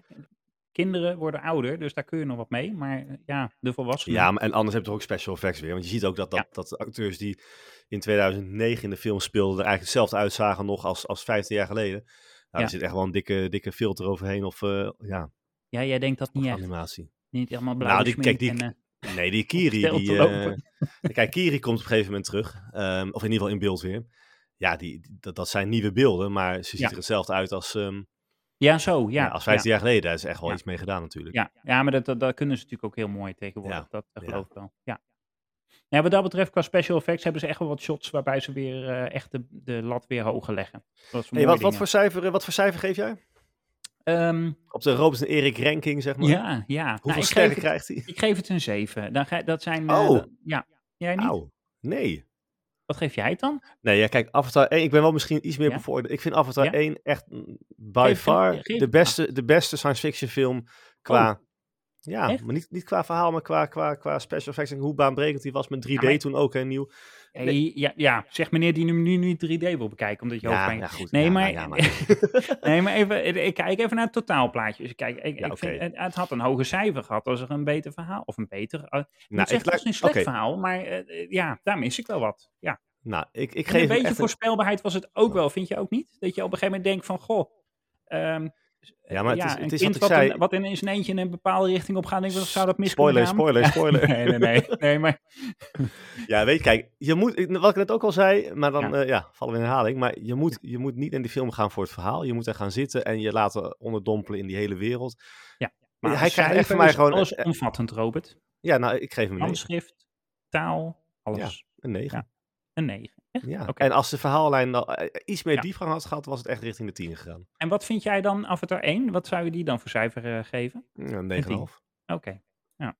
Speaker 2: kinderen worden ouder, dus daar kun je nog wat mee. Maar eh, ja, de volwassenen.
Speaker 1: ja, maar en anders heb je toch ook special effects weer. Want je ziet ook dat, dat, dat de acteurs die in 2009 in de film speelden, er eigenlijk hetzelfde uitzagen nog als, als 15 jaar geleden. Nou, Er
Speaker 2: Ja.
Speaker 1: zit echt wel een dikke, dikke filter overheen of eh, ja,
Speaker 2: Ja, jij denkt dat niet echt.
Speaker 1: animatie.
Speaker 2: Niet allemaal blauw.
Speaker 1: Nou, die- kijk, die-
Speaker 2: en, eh,
Speaker 1: Nee, die Kiri.
Speaker 2: stijl te
Speaker 1: Die,
Speaker 2: lopen.
Speaker 1: eh, kijk, Kiri komt op een gegeven moment terug. ehm, of in ieder geval in beeld weer. Ja, die, die- dat, dat zijn nieuwe beelden, maar ze ziet
Speaker 2: Ja.
Speaker 1: er hetzelfde uit als, ehm,
Speaker 2: ja, zo. Ja,
Speaker 1: ja, als 15 jaar geleden. Daar is echt wel
Speaker 2: Ja.
Speaker 1: iets mee gedaan natuurlijk.
Speaker 2: Ja, ja, ja maar dat, dat, dat kunnen ze natuurlijk ook heel mooi tegenwoordig.
Speaker 1: Ja,
Speaker 2: Dat, dat
Speaker 1: ja.
Speaker 2: geloof ik wel. Ja. ja, wat dat betreft, qua special effects hebben ze echt wel wat shots waarbij ze weer eh, echt de, de lat weer hoger leggen. Dat is
Speaker 1: Hey, wat, wat, voor cijfer, eh, wat voor cijfer geef jij? Op de Robert en Erik ranking, zeg maar.
Speaker 2: Ehm, ja, ja. Nou,
Speaker 1: Hoeveel
Speaker 2: ik geef
Speaker 1: sterren
Speaker 2: het-
Speaker 1: krijgt hij?
Speaker 2: Ik geef het een 7. Dan ga, dat zijn. eh,
Speaker 1: Oh.
Speaker 2: dat- ja. Jij niet?
Speaker 1: Auw, nee.
Speaker 2: Wat geef jij het dan?
Speaker 1: Nee, ja, kijk, Avatar 1, ik ben wel misschien iets meer
Speaker 2: Ja?
Speaker 1: bevooroordeeld. Ik vind Avatar
Speaker 2: Ja?
Speaker 1: 1 echt mm, by
Speaker 2: Geef-
Speaker 1: far
Speaker 2: geef- geef-
Speaker 1: de, beste, de beste science fiction film qua... ja,
Speaker 2: Oh. echt?
Speaker 1: maar niet, niet qua verhaal, maar qua, qua, qua special effects. En hoe baanbrekend die was met 3D
Speaker 2: maar-
Speaker 1: toen ook, hè, nieuw.
Speaker 2: Hey, ja, ja, zeg meneer die nu, nu, nu 3D wil bekijken, omdat je hoofdpijn
Speaker 1: goed.
Speaker 2: Nee,
Speaker 1: Ja,
Speaker 2: nou maar,
Speaker 1: ja,
Speaker 2: nee, maar even, eh, ik kijk even naar het totaalplaatje. Dus ik kijk, ik,
Speaker 1: Ja,
Speaker 2: ik vind,
Speaker 1: oké.
Speaker 2: het, het had een hoger cijfer gehad als er een beter verhaal. Of een beter. eh,
Speaker 1: nou,
Speaker 2: ik zeg,
Speaker 1: ik,
Speaker 2: het
Speaker 1: laat-
Speaker 2: is een slecht
Speaker 1: oké,
Speaker 2: verhaal, maar eh, eh, ja, daar mis ik wel wat. Ja.
Speaker 1: nou, ik, ik
Speaker 2: En
Speaker 1: geef
Speaker 2: een
Speaker 1: hem
Speaker 2: beetje
Speaker 1: echt een-
Speaker 2: voorspelbaarheid was het ook wel, vind je ook niet? Dat je op een gegeven moment denkt van, goh, ehm,
Speaker 1: Ja, maar het is-
Speaker 2: een
Speaker 1: het is
Speaker 2: kind
Speaker 1: wat ik
Speaker 2: wat,
Speaker 1: zei-
Speaker 2: in, wat in in zijn eentje in een bepaalde richting op gaat, denk ik, zou dat mis
Speaker 1: Spoiler,
Speaker 2: kunnen gaan?
Speaker 1: spoiler, spoiler.
Speaker 2: Nee, nee, nee. nee maar,
Speaker 1: Ja, weet je, kijk, je moet, ik- wat ik net ook al zei, maar dan
Speaker 2: Ja.
Speaker 1: eh, ja, vallen we in herhaling. Maar je moet, je moet niet in die film gaan voor het verhaal. Je moet er gaan zitten en je laten onderdompelen in die hele wereld.
Speaker 2: ja.
Speaker 1: Maar hij
Speaker 2: als
Speaker 1: krijgt echt
Speaker 2: cijfer
Speaker 1: van mij
Speaker 2: is
Speaker 1: gewoon- eh,
Speaker 2: Alles omvattend, Robert.
Speaker 1: Ja, nou, ik geef hem een negen.
Speaker 2: Handschrift, taal, alles.
Speaker 1: Een negen.
Speaker 2: Een 9.
Speaker 1: Ja.
Speaker 2: Oké.
Speaker 1: En als de verhaallijn al, eh, iets meer
Speaker 2: Ja.
Speaker 1: diepgang had gehad, was het echt richting de tien gegaan.
Speaker 2: En wat vind jij dan Avatar 1? Wat zou je die dan voor cijfer eh, geven?
Speaker 1: Ja, Een negen en een half.
Speaker 2: Oké. Ja.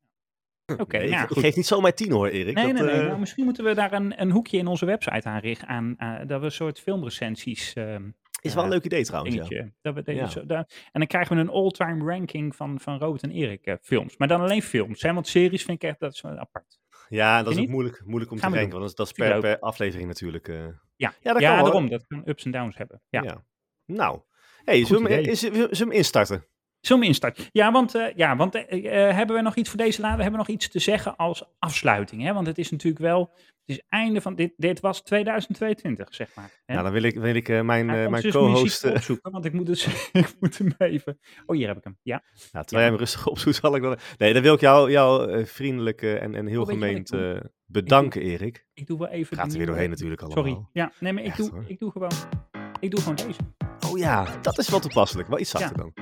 Speaker 2: Oké,
Speaker 1: Nee,
Speaker 2: nou
Speaker 1: ik, ik
Speaker 2: goed.
Speaker 1: geef niet zomaar tien hoor, Erik.
Speaker 2: Nee,
Speaker 1: Dat,
Speaker 2: nee, nee.
Speaker 1: eh,
Speaker 2: Nou, misschien moeten we daar een, een hoekje in onze website aan richten. Aan, eh, dat we een soort filmrecensies ehm
Speaker 1: Is wel een
Speaker 2: Ja.
Speaker 1: leuk idee trouwens, Oh, ja.
Speaker 2: dingetje. Dat we, dat
Speaker 1: Ja.
Speaker 2: zo, daar- en dan krijgen we een all-time ranking van, van Robert en Erik eh, films. Maar dan alleen films. Hè? Want series vind ik echt dat is wel apart.
Speaker 1: Ja, dat is ook
Speaker 2: niet?
Speaker 1: moeilijk, moeilijk om
Speaker 2: Gaan
Speaker 1: te
Speaker 2: we
Speaker 1: denken, want dat is- dat is
Speaker 2: Tuurlijk
Speaker 1: per,
Speaker 2: ook.
Speaker 1: per aflevering natuurlijk. eh,
Speaker 2: Ja,
Speaker 1: Ja, dat
Speaker 2: ja
Speaker 1: kan wel.
Speaker 2: daarom. Dat kan ups en downs hebben. Ja.
Speaker 1: ja. Nou, hey, zullen we hem-
Speaker 2: idee.
Speaker 1: is- zullen we hem instarten?
Speaker 2: Zullen we instarten? Ja, want, eh, ja, want eh, eh, hebben we nog iets voor deze laden? Hebben we nog iets te zeggen als afsluiting? Hè? Want het is natuurlijk wel, het is einde van, dit, dit was 2022, zeg maar. Hè?
Speaker 1: Nou, dan wil ik, wil ik eh, mijn,
Speaker 2: Hij
Speaker 1: eh,
Speaker 2: kan
Speaker 1: mijn
Speaker 2: dus
Speaker 1: co-host...
Speaker 2: muziek
Speaker 1: eh,
Speaker 2: opzoeken, want ik moet, dus, ik moet hem even... Oh, hier heb ik hem. Ja.
Speaker 1: Nou, terwijl jij hem rustig opzoekt, zal ik dan... Nee, dan wil ik jou, jou eh, vriendelijk eh, en, en heel
Speaker 2: Oh, weet je wat ik
Speaker 1: gemeend
Speaker 2: doe?
Speaker 1: eh, bedanken, Erik.
Speaker 2: Ik doe wel even...
Speaker 1: Gaat
Speaker 2: de
Speaker 1: er weer
Speaker 2: nieuwe-
Speaker 1: doorheen natuurlijk allemaal.
Speaker 2: Sorry. Ja, nee, maar ik,
Speaker 1: Echt,
Speaker 2: doe,
Speaker 1: hoor.
Speaker 2: ik doe gewoon... Ik doe gewoon deze.
Speaker 1: Oh ja, dat is wel toepasselijk. Wel iets zachter dan.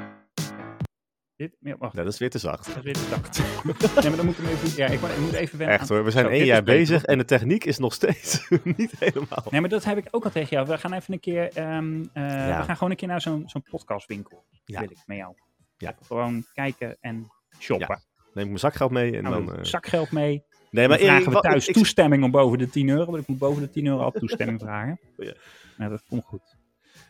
Speaker 2: Dit, ja, wacht.
Speaker 1: Nee, dat is weer te zacht.
Speaker 2: Dat is weer te zacht. nee, maar dan moet ik hem even... Ja, ik, ik moet even wennen
Speaker 1: Echt
Speaker 2: aan-
Speaker 1: hoor, we zijn
Speaker 2: Zo,
Speaker 1: één
Speaker 2: dit
Speaker 1: jaar
Speaker 2: is beter.
Speaker 1: bezig en de techniek is nog steeds niet helemaal...
Speaker 2: Nee, maar dat heb ik ook al tegen jou. We gaan even een keer... ehm, eh,
Speaker 1: Ja.
Speaker 2: We gaan gewoon een keer naar zo'n zo'n podcastwinkel.
Speaker 1: Ja.
Speaker 2: Wil ik met jou.
Speaker 1: Ja.
Speaker 2: Even Gewoon kijken en shoppen.
Speaker 1: Ja, Neem ik mijn zakgeld mee en
Speaker 2: Nou,
Speaker 1: dan... eh,
Speaker 2: zakgeld mee.
Speaker 1: Nee, maar
Speaker 2: Maar dan
Speaker 1: Erik,
Speaker 2: vragen we
Speaker 1: wat-
Speaker 2: thuis
Speaker 1: ik- ik-
Speaker 2: toestemming om boven de 10 euro. Want ik moet boven de 10 euro al toestemming vragen.
Speaker 1: Oh, Ja.
Speaker 2: Nou, dat komt goed.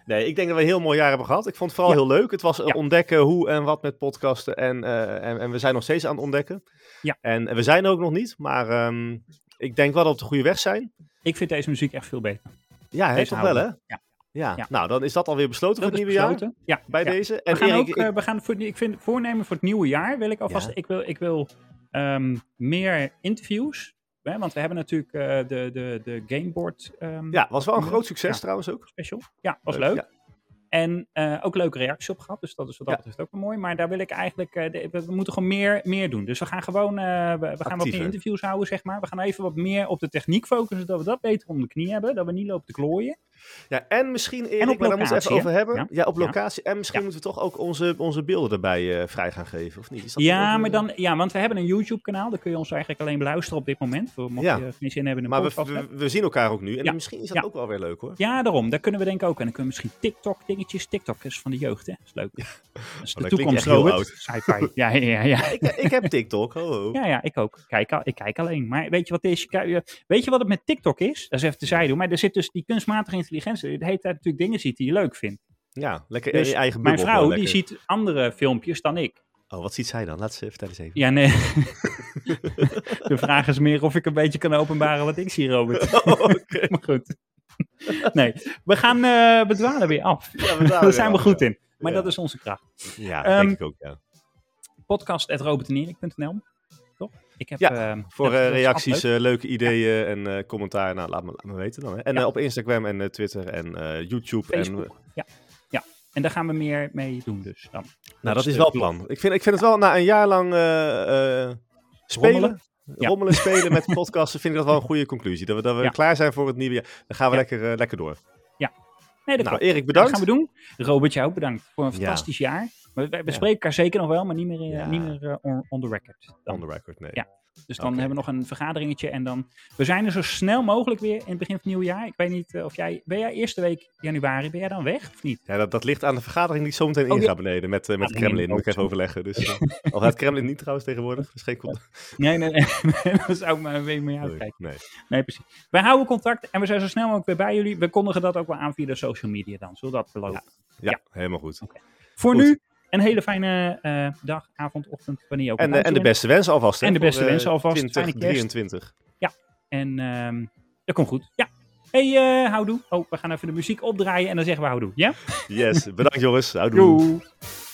Speaker 1: Nee, ik denk dat we een heel mooi jaar hebben gehad. Ik vond het vooral
Speaker 2: Ja.
Speaker 1: heel leuk. Het was eh,
Speaker 2: Ja.
Speaker 1: ontdekken hoe en wat met podcasten. En, eh, en, en we zijn nog steeds aan het ontdekken.
Speaker 2: Ja.
Speaker 1: En, en we zijn er ook nog niet, maar ehm, ik denk wel dat we op de goede weg zijn.
Speaker 2: Ik vind deze muziek echt veel beter.
Speaker 1: Ja, heeft
Speaker 2: Deze
Speaker 1: toch wel, hè?
Speaker 2: houden we. Ja.
Speaker 1: Ja.
Speaker 2: Ja.
Speaker 1: nou dan is dat alweer besloten
Speaker 2: Dat
Speaker 1: voor
Speaker 2: is
Speaker 1: het nieuwe
Speaker 2: besloten. Ja.
Speaker 1: jaar bij
Speaker 2: ja.
Speaker 1: deze.
Speaker 2: We
Speaker 1: En
Speaker 2: gaan
Speaker 1: Erik,
Speaker 2: ook,
Speaker 1: ik-
Speaker 2: eh, we gaan voor, ik vind voornemen voor het nieuwe jaar wil ik alvast,
Speaker 1: Ja.
Speaker 2: ik wil, ik wil ehm, meer interviews. Hè? Want we hebben natuurlijk eh, de, de, de Gameboard ehm,
Speaker 1: ja, was wel een groot succes
Speaker 2: Ja.
Speaker 1: trouwens ook.
Speaker 2: special. Ja, was
Speaker 1: Leuk,
Speaker 2: leuk.
Speaker 1: ja.
Speaker 2: En eh, ook leuke reacties op gehad, dus dat is wat dat
Speaker 1: Ja.
Speaker 2: betreft ook wel mooi. Maar daar wil ik eigenlijk, eh, de- we we moeten gewoon meer, meer doen. Dus we gaan gewoon, eh, we, we gaan wat meer
Speaker 1: Actiever.
Speaker 2: interviews houden, zeg maar. We gaan even wat meer op de techniek focussen, dat we dat beter om de knie hebben. Dat we niet lopen te klooien.
Speaker 1: Ja, en misschien Erik,
Speaker 2: op
Speaker 1: maar daar moeten we
Speaker 2: locatie,
Speaker 1: even over
Speaker 2: hè?
Speaker 1: hebben.
Speaker 2: Ja.
Speaker 1: Ja, op
Speaker 2: Ja.
Speaker 1: locatie. En misschien
Speaker 2: Ja.
Speaker 1: moeten we toch ook onze, onze beelden erbij eh, vrij gaan geven, of niet? Is dat ook,
Speaker 2: Ja,
Speaker 1: eh,
Speaker 2: maar dan, ja, want we hebben een YouTube-kanaal. Daar kun je ons eigenlijk alleen beluisteren op dit moment. Voor mocht
Speaker 1: Ja.
Speaker 2: je geen zin hebben in een
Speaker 1: Maar we,
Speaker 2: podcast.
Speaker 1: we, we zien elkaar ook nu. En
Speaker 2: Ja.
Speaker 1: misschien is dat
Speaker 2: Ja.
Speaker 1: ook wel weer leuk hoor.
Speaker 2: Ja, daarom. Daar kunnen we denk ik ook. En dan kunnen we misschien TikTok-dingetjes. TikTok is van de jeugd, hè? Dat is leuk. Dat is de
Speaker 1: dat klinkt
Speaker 2: toekomst,
Speaker 1: echt heel
Speaker 2: Robert.
Speaker 1: oud.
Speaker 2: Sci-fi. Ja, ja, ja.
Speaker 1: Ik, eh, ik heb TikTok. Ho, ho.
Speaker 2: Ja, ja, ik ook. Ik Kijk, al- ik kijk alleen. Maar weet je wat is? je kijk- je- Weet je wat het met TikTok is? Dat is even tezijde. hoor, Maar er zit dus die kunstmatige intelligentie. Die de hele tijd natuurlijk dingen ziet die je leuk vindt.
Speaker 1: Ja, lekker
Speaker 2: Dus
Speaker 1: in je eigen
Speaker 2: Mijn
Speaker 1: bubbel.
Speaker 2: vrouw,
Speaker 1: gewoon
Speaker 2: die
Speaker 1: lekker.
Speaker 2: ziet andere filmpjes dan ik.
Speaker 1: Oh, wat ziet zij dan? Laat ze vertel eens even.
Speaker 2: Ja, nee. De vraag is meer of ik een beetje kan openbaren wat ik zie, Robert.
Speaker 1: Oh,
Speaker 2: Maar goed. Nee, we gaan eh bedwalen weer af.
Speaker 1: Ja, we
Speaker 2: Daar zijn we goed in. Maar
Speaker 1: Ja.
Speaker 2: dat is onze kracht.
Speaker 1: Ja,
Speaker 2: Ehm,
Speaker 1: denk ik ook, ja.
Speaker 2: Podcast.robertenerik.nl Toch? Ik heb,
Speaker 1: Ja,
Speaker 2: ehm,
Speaker 1: Voor
Speaker 2: dat-
Speaker 1: eh,
Speaker 2: dat is
Speaker 1: reacties,
Speaker 2: altijd
Speaker 1: eh,
Speaker 2: leuk.
Speaker 1: leuke ideeën en eh, commentaar, nou, laat me, laat me weten dan. Hè. En
Speaker 2: Ja.
Speaker 1: eh, op Instagram en eh, Twitter en eh, YouTube. En,
Speaker 2: Facebook. Nou, Ja. ja. En daar gaan we meer mee doen dus. Dan.
Speaker 1: nou,
Speaker 2: is
Speaker 1: dat is
Speaker 2: de
Speaker 1: wel het
Speaker 2: plan.
Speaker 1: plan. Ik vind, ik vind het wel, na een jaar lang eh, eh, spelen,
Speaker 2: Rommelen?
Speaker 1: rommelen,
Speaker 2: Ja.
Speaker 1: spelen met podcasten, vind ik dat wel een goede conclusie. Dat we, dat we
Speaker 2: Ja.
Speaker 1: klaar zijn voor het nieuwe jaar. Dan gaan we
Speaker 2: Ja.
Speaker 1: lekker, eh, lekker door.
Speaker 2: Nee, dat
Speaker 1: Nou,
Speaker 2: klopt.
Speaker 1: Erik,
Speaker 2: Dat
Speaker 1: bedankt.
Speaker 2: gaan we doen. Robert, jou ook bedankt voor een
Speaker 1: Ja.
Speaker 2: fantastisch jaar. We, we, we
Speaker 1: Ja.
Speaker 2: spreken elkaar zeker nog wel, maar niet meer, eh,
Speaker 1: Ja.
Speaker 2: niet meer eh, on, on the record. Dan.
Speaker 1: On the record, nee.
Speaker 2: Ja. Dus dan
Speaker 1: Oké.
Speaker 2: hebben we nog een vergaderingetje. En dan, we zijn er zo snel mogelijk weer in het begin van het nieuwe jaar. Ik weet niet eh, of jij, ben jij eerste week januari, ben jij dan weg of niet?
Speaker 1: Ja, dat, dat ligt aan de vergadering die ik zometeen
Speaker 2: Oh,
Speaker 1: inga
Speaker 2: ja.
Speaker 1: beneden met, eh, met het
Speaker 2: Ah, nee,
Speaker 1: Kremlin. Moet ik
Speaker 2: ook
Speaker 1: even
Speaker 2: zo.
Speaker 1: overleggen. Dus, eh, al gaat het Kremlin niet trouwens tegenwoordig. Dat is geen contact.
Speaker 2: Nee, nee, nee. dat zou ik maar weer mee
Speaker 1: Nee,
Speaker 2: uitkijken.
Speaker 1: nee.
Speaker 2: Nee, precies. Wij houden contact en we zijn zo snel mogelijk weer bij jullie. We kondigen dat ook wel aan via de social media dan, zodat we beloven.
Speaker 1: Ja,
Speaker 2: Ja.
Speaker 1: helemaal goed.
Speaker 2: Voor
Speaker 1: Goed.
Speaker 2: nu, een hele fijne eh, dag, avond, ochtend, wanneer je ook
Speaker 1: En,
Speaker 2: aan
Speaker 1: eh,
Speaker 2: het
Speaker 1: en de
Speaker 2: luisteren
Speaker 1: beste wensen alvast. hè,
Speaker 2: En de
Speaker 1: voor,
Speaker 2: beste
Speaker 1: eh,
Speaker 2: wensen alvast. Fijne kerst.
Speaker 1: 2023.
Speaker 2: bent. En ehm, dat komt goed. Ja. Hey, eh, houdoe. Oh, we gaan even de muziek opdraaien en dan zeggen we houdoe. Ja?
Speaker 1: Yes, bedankt jongens. Houdoe.
Speaker 2: Doei.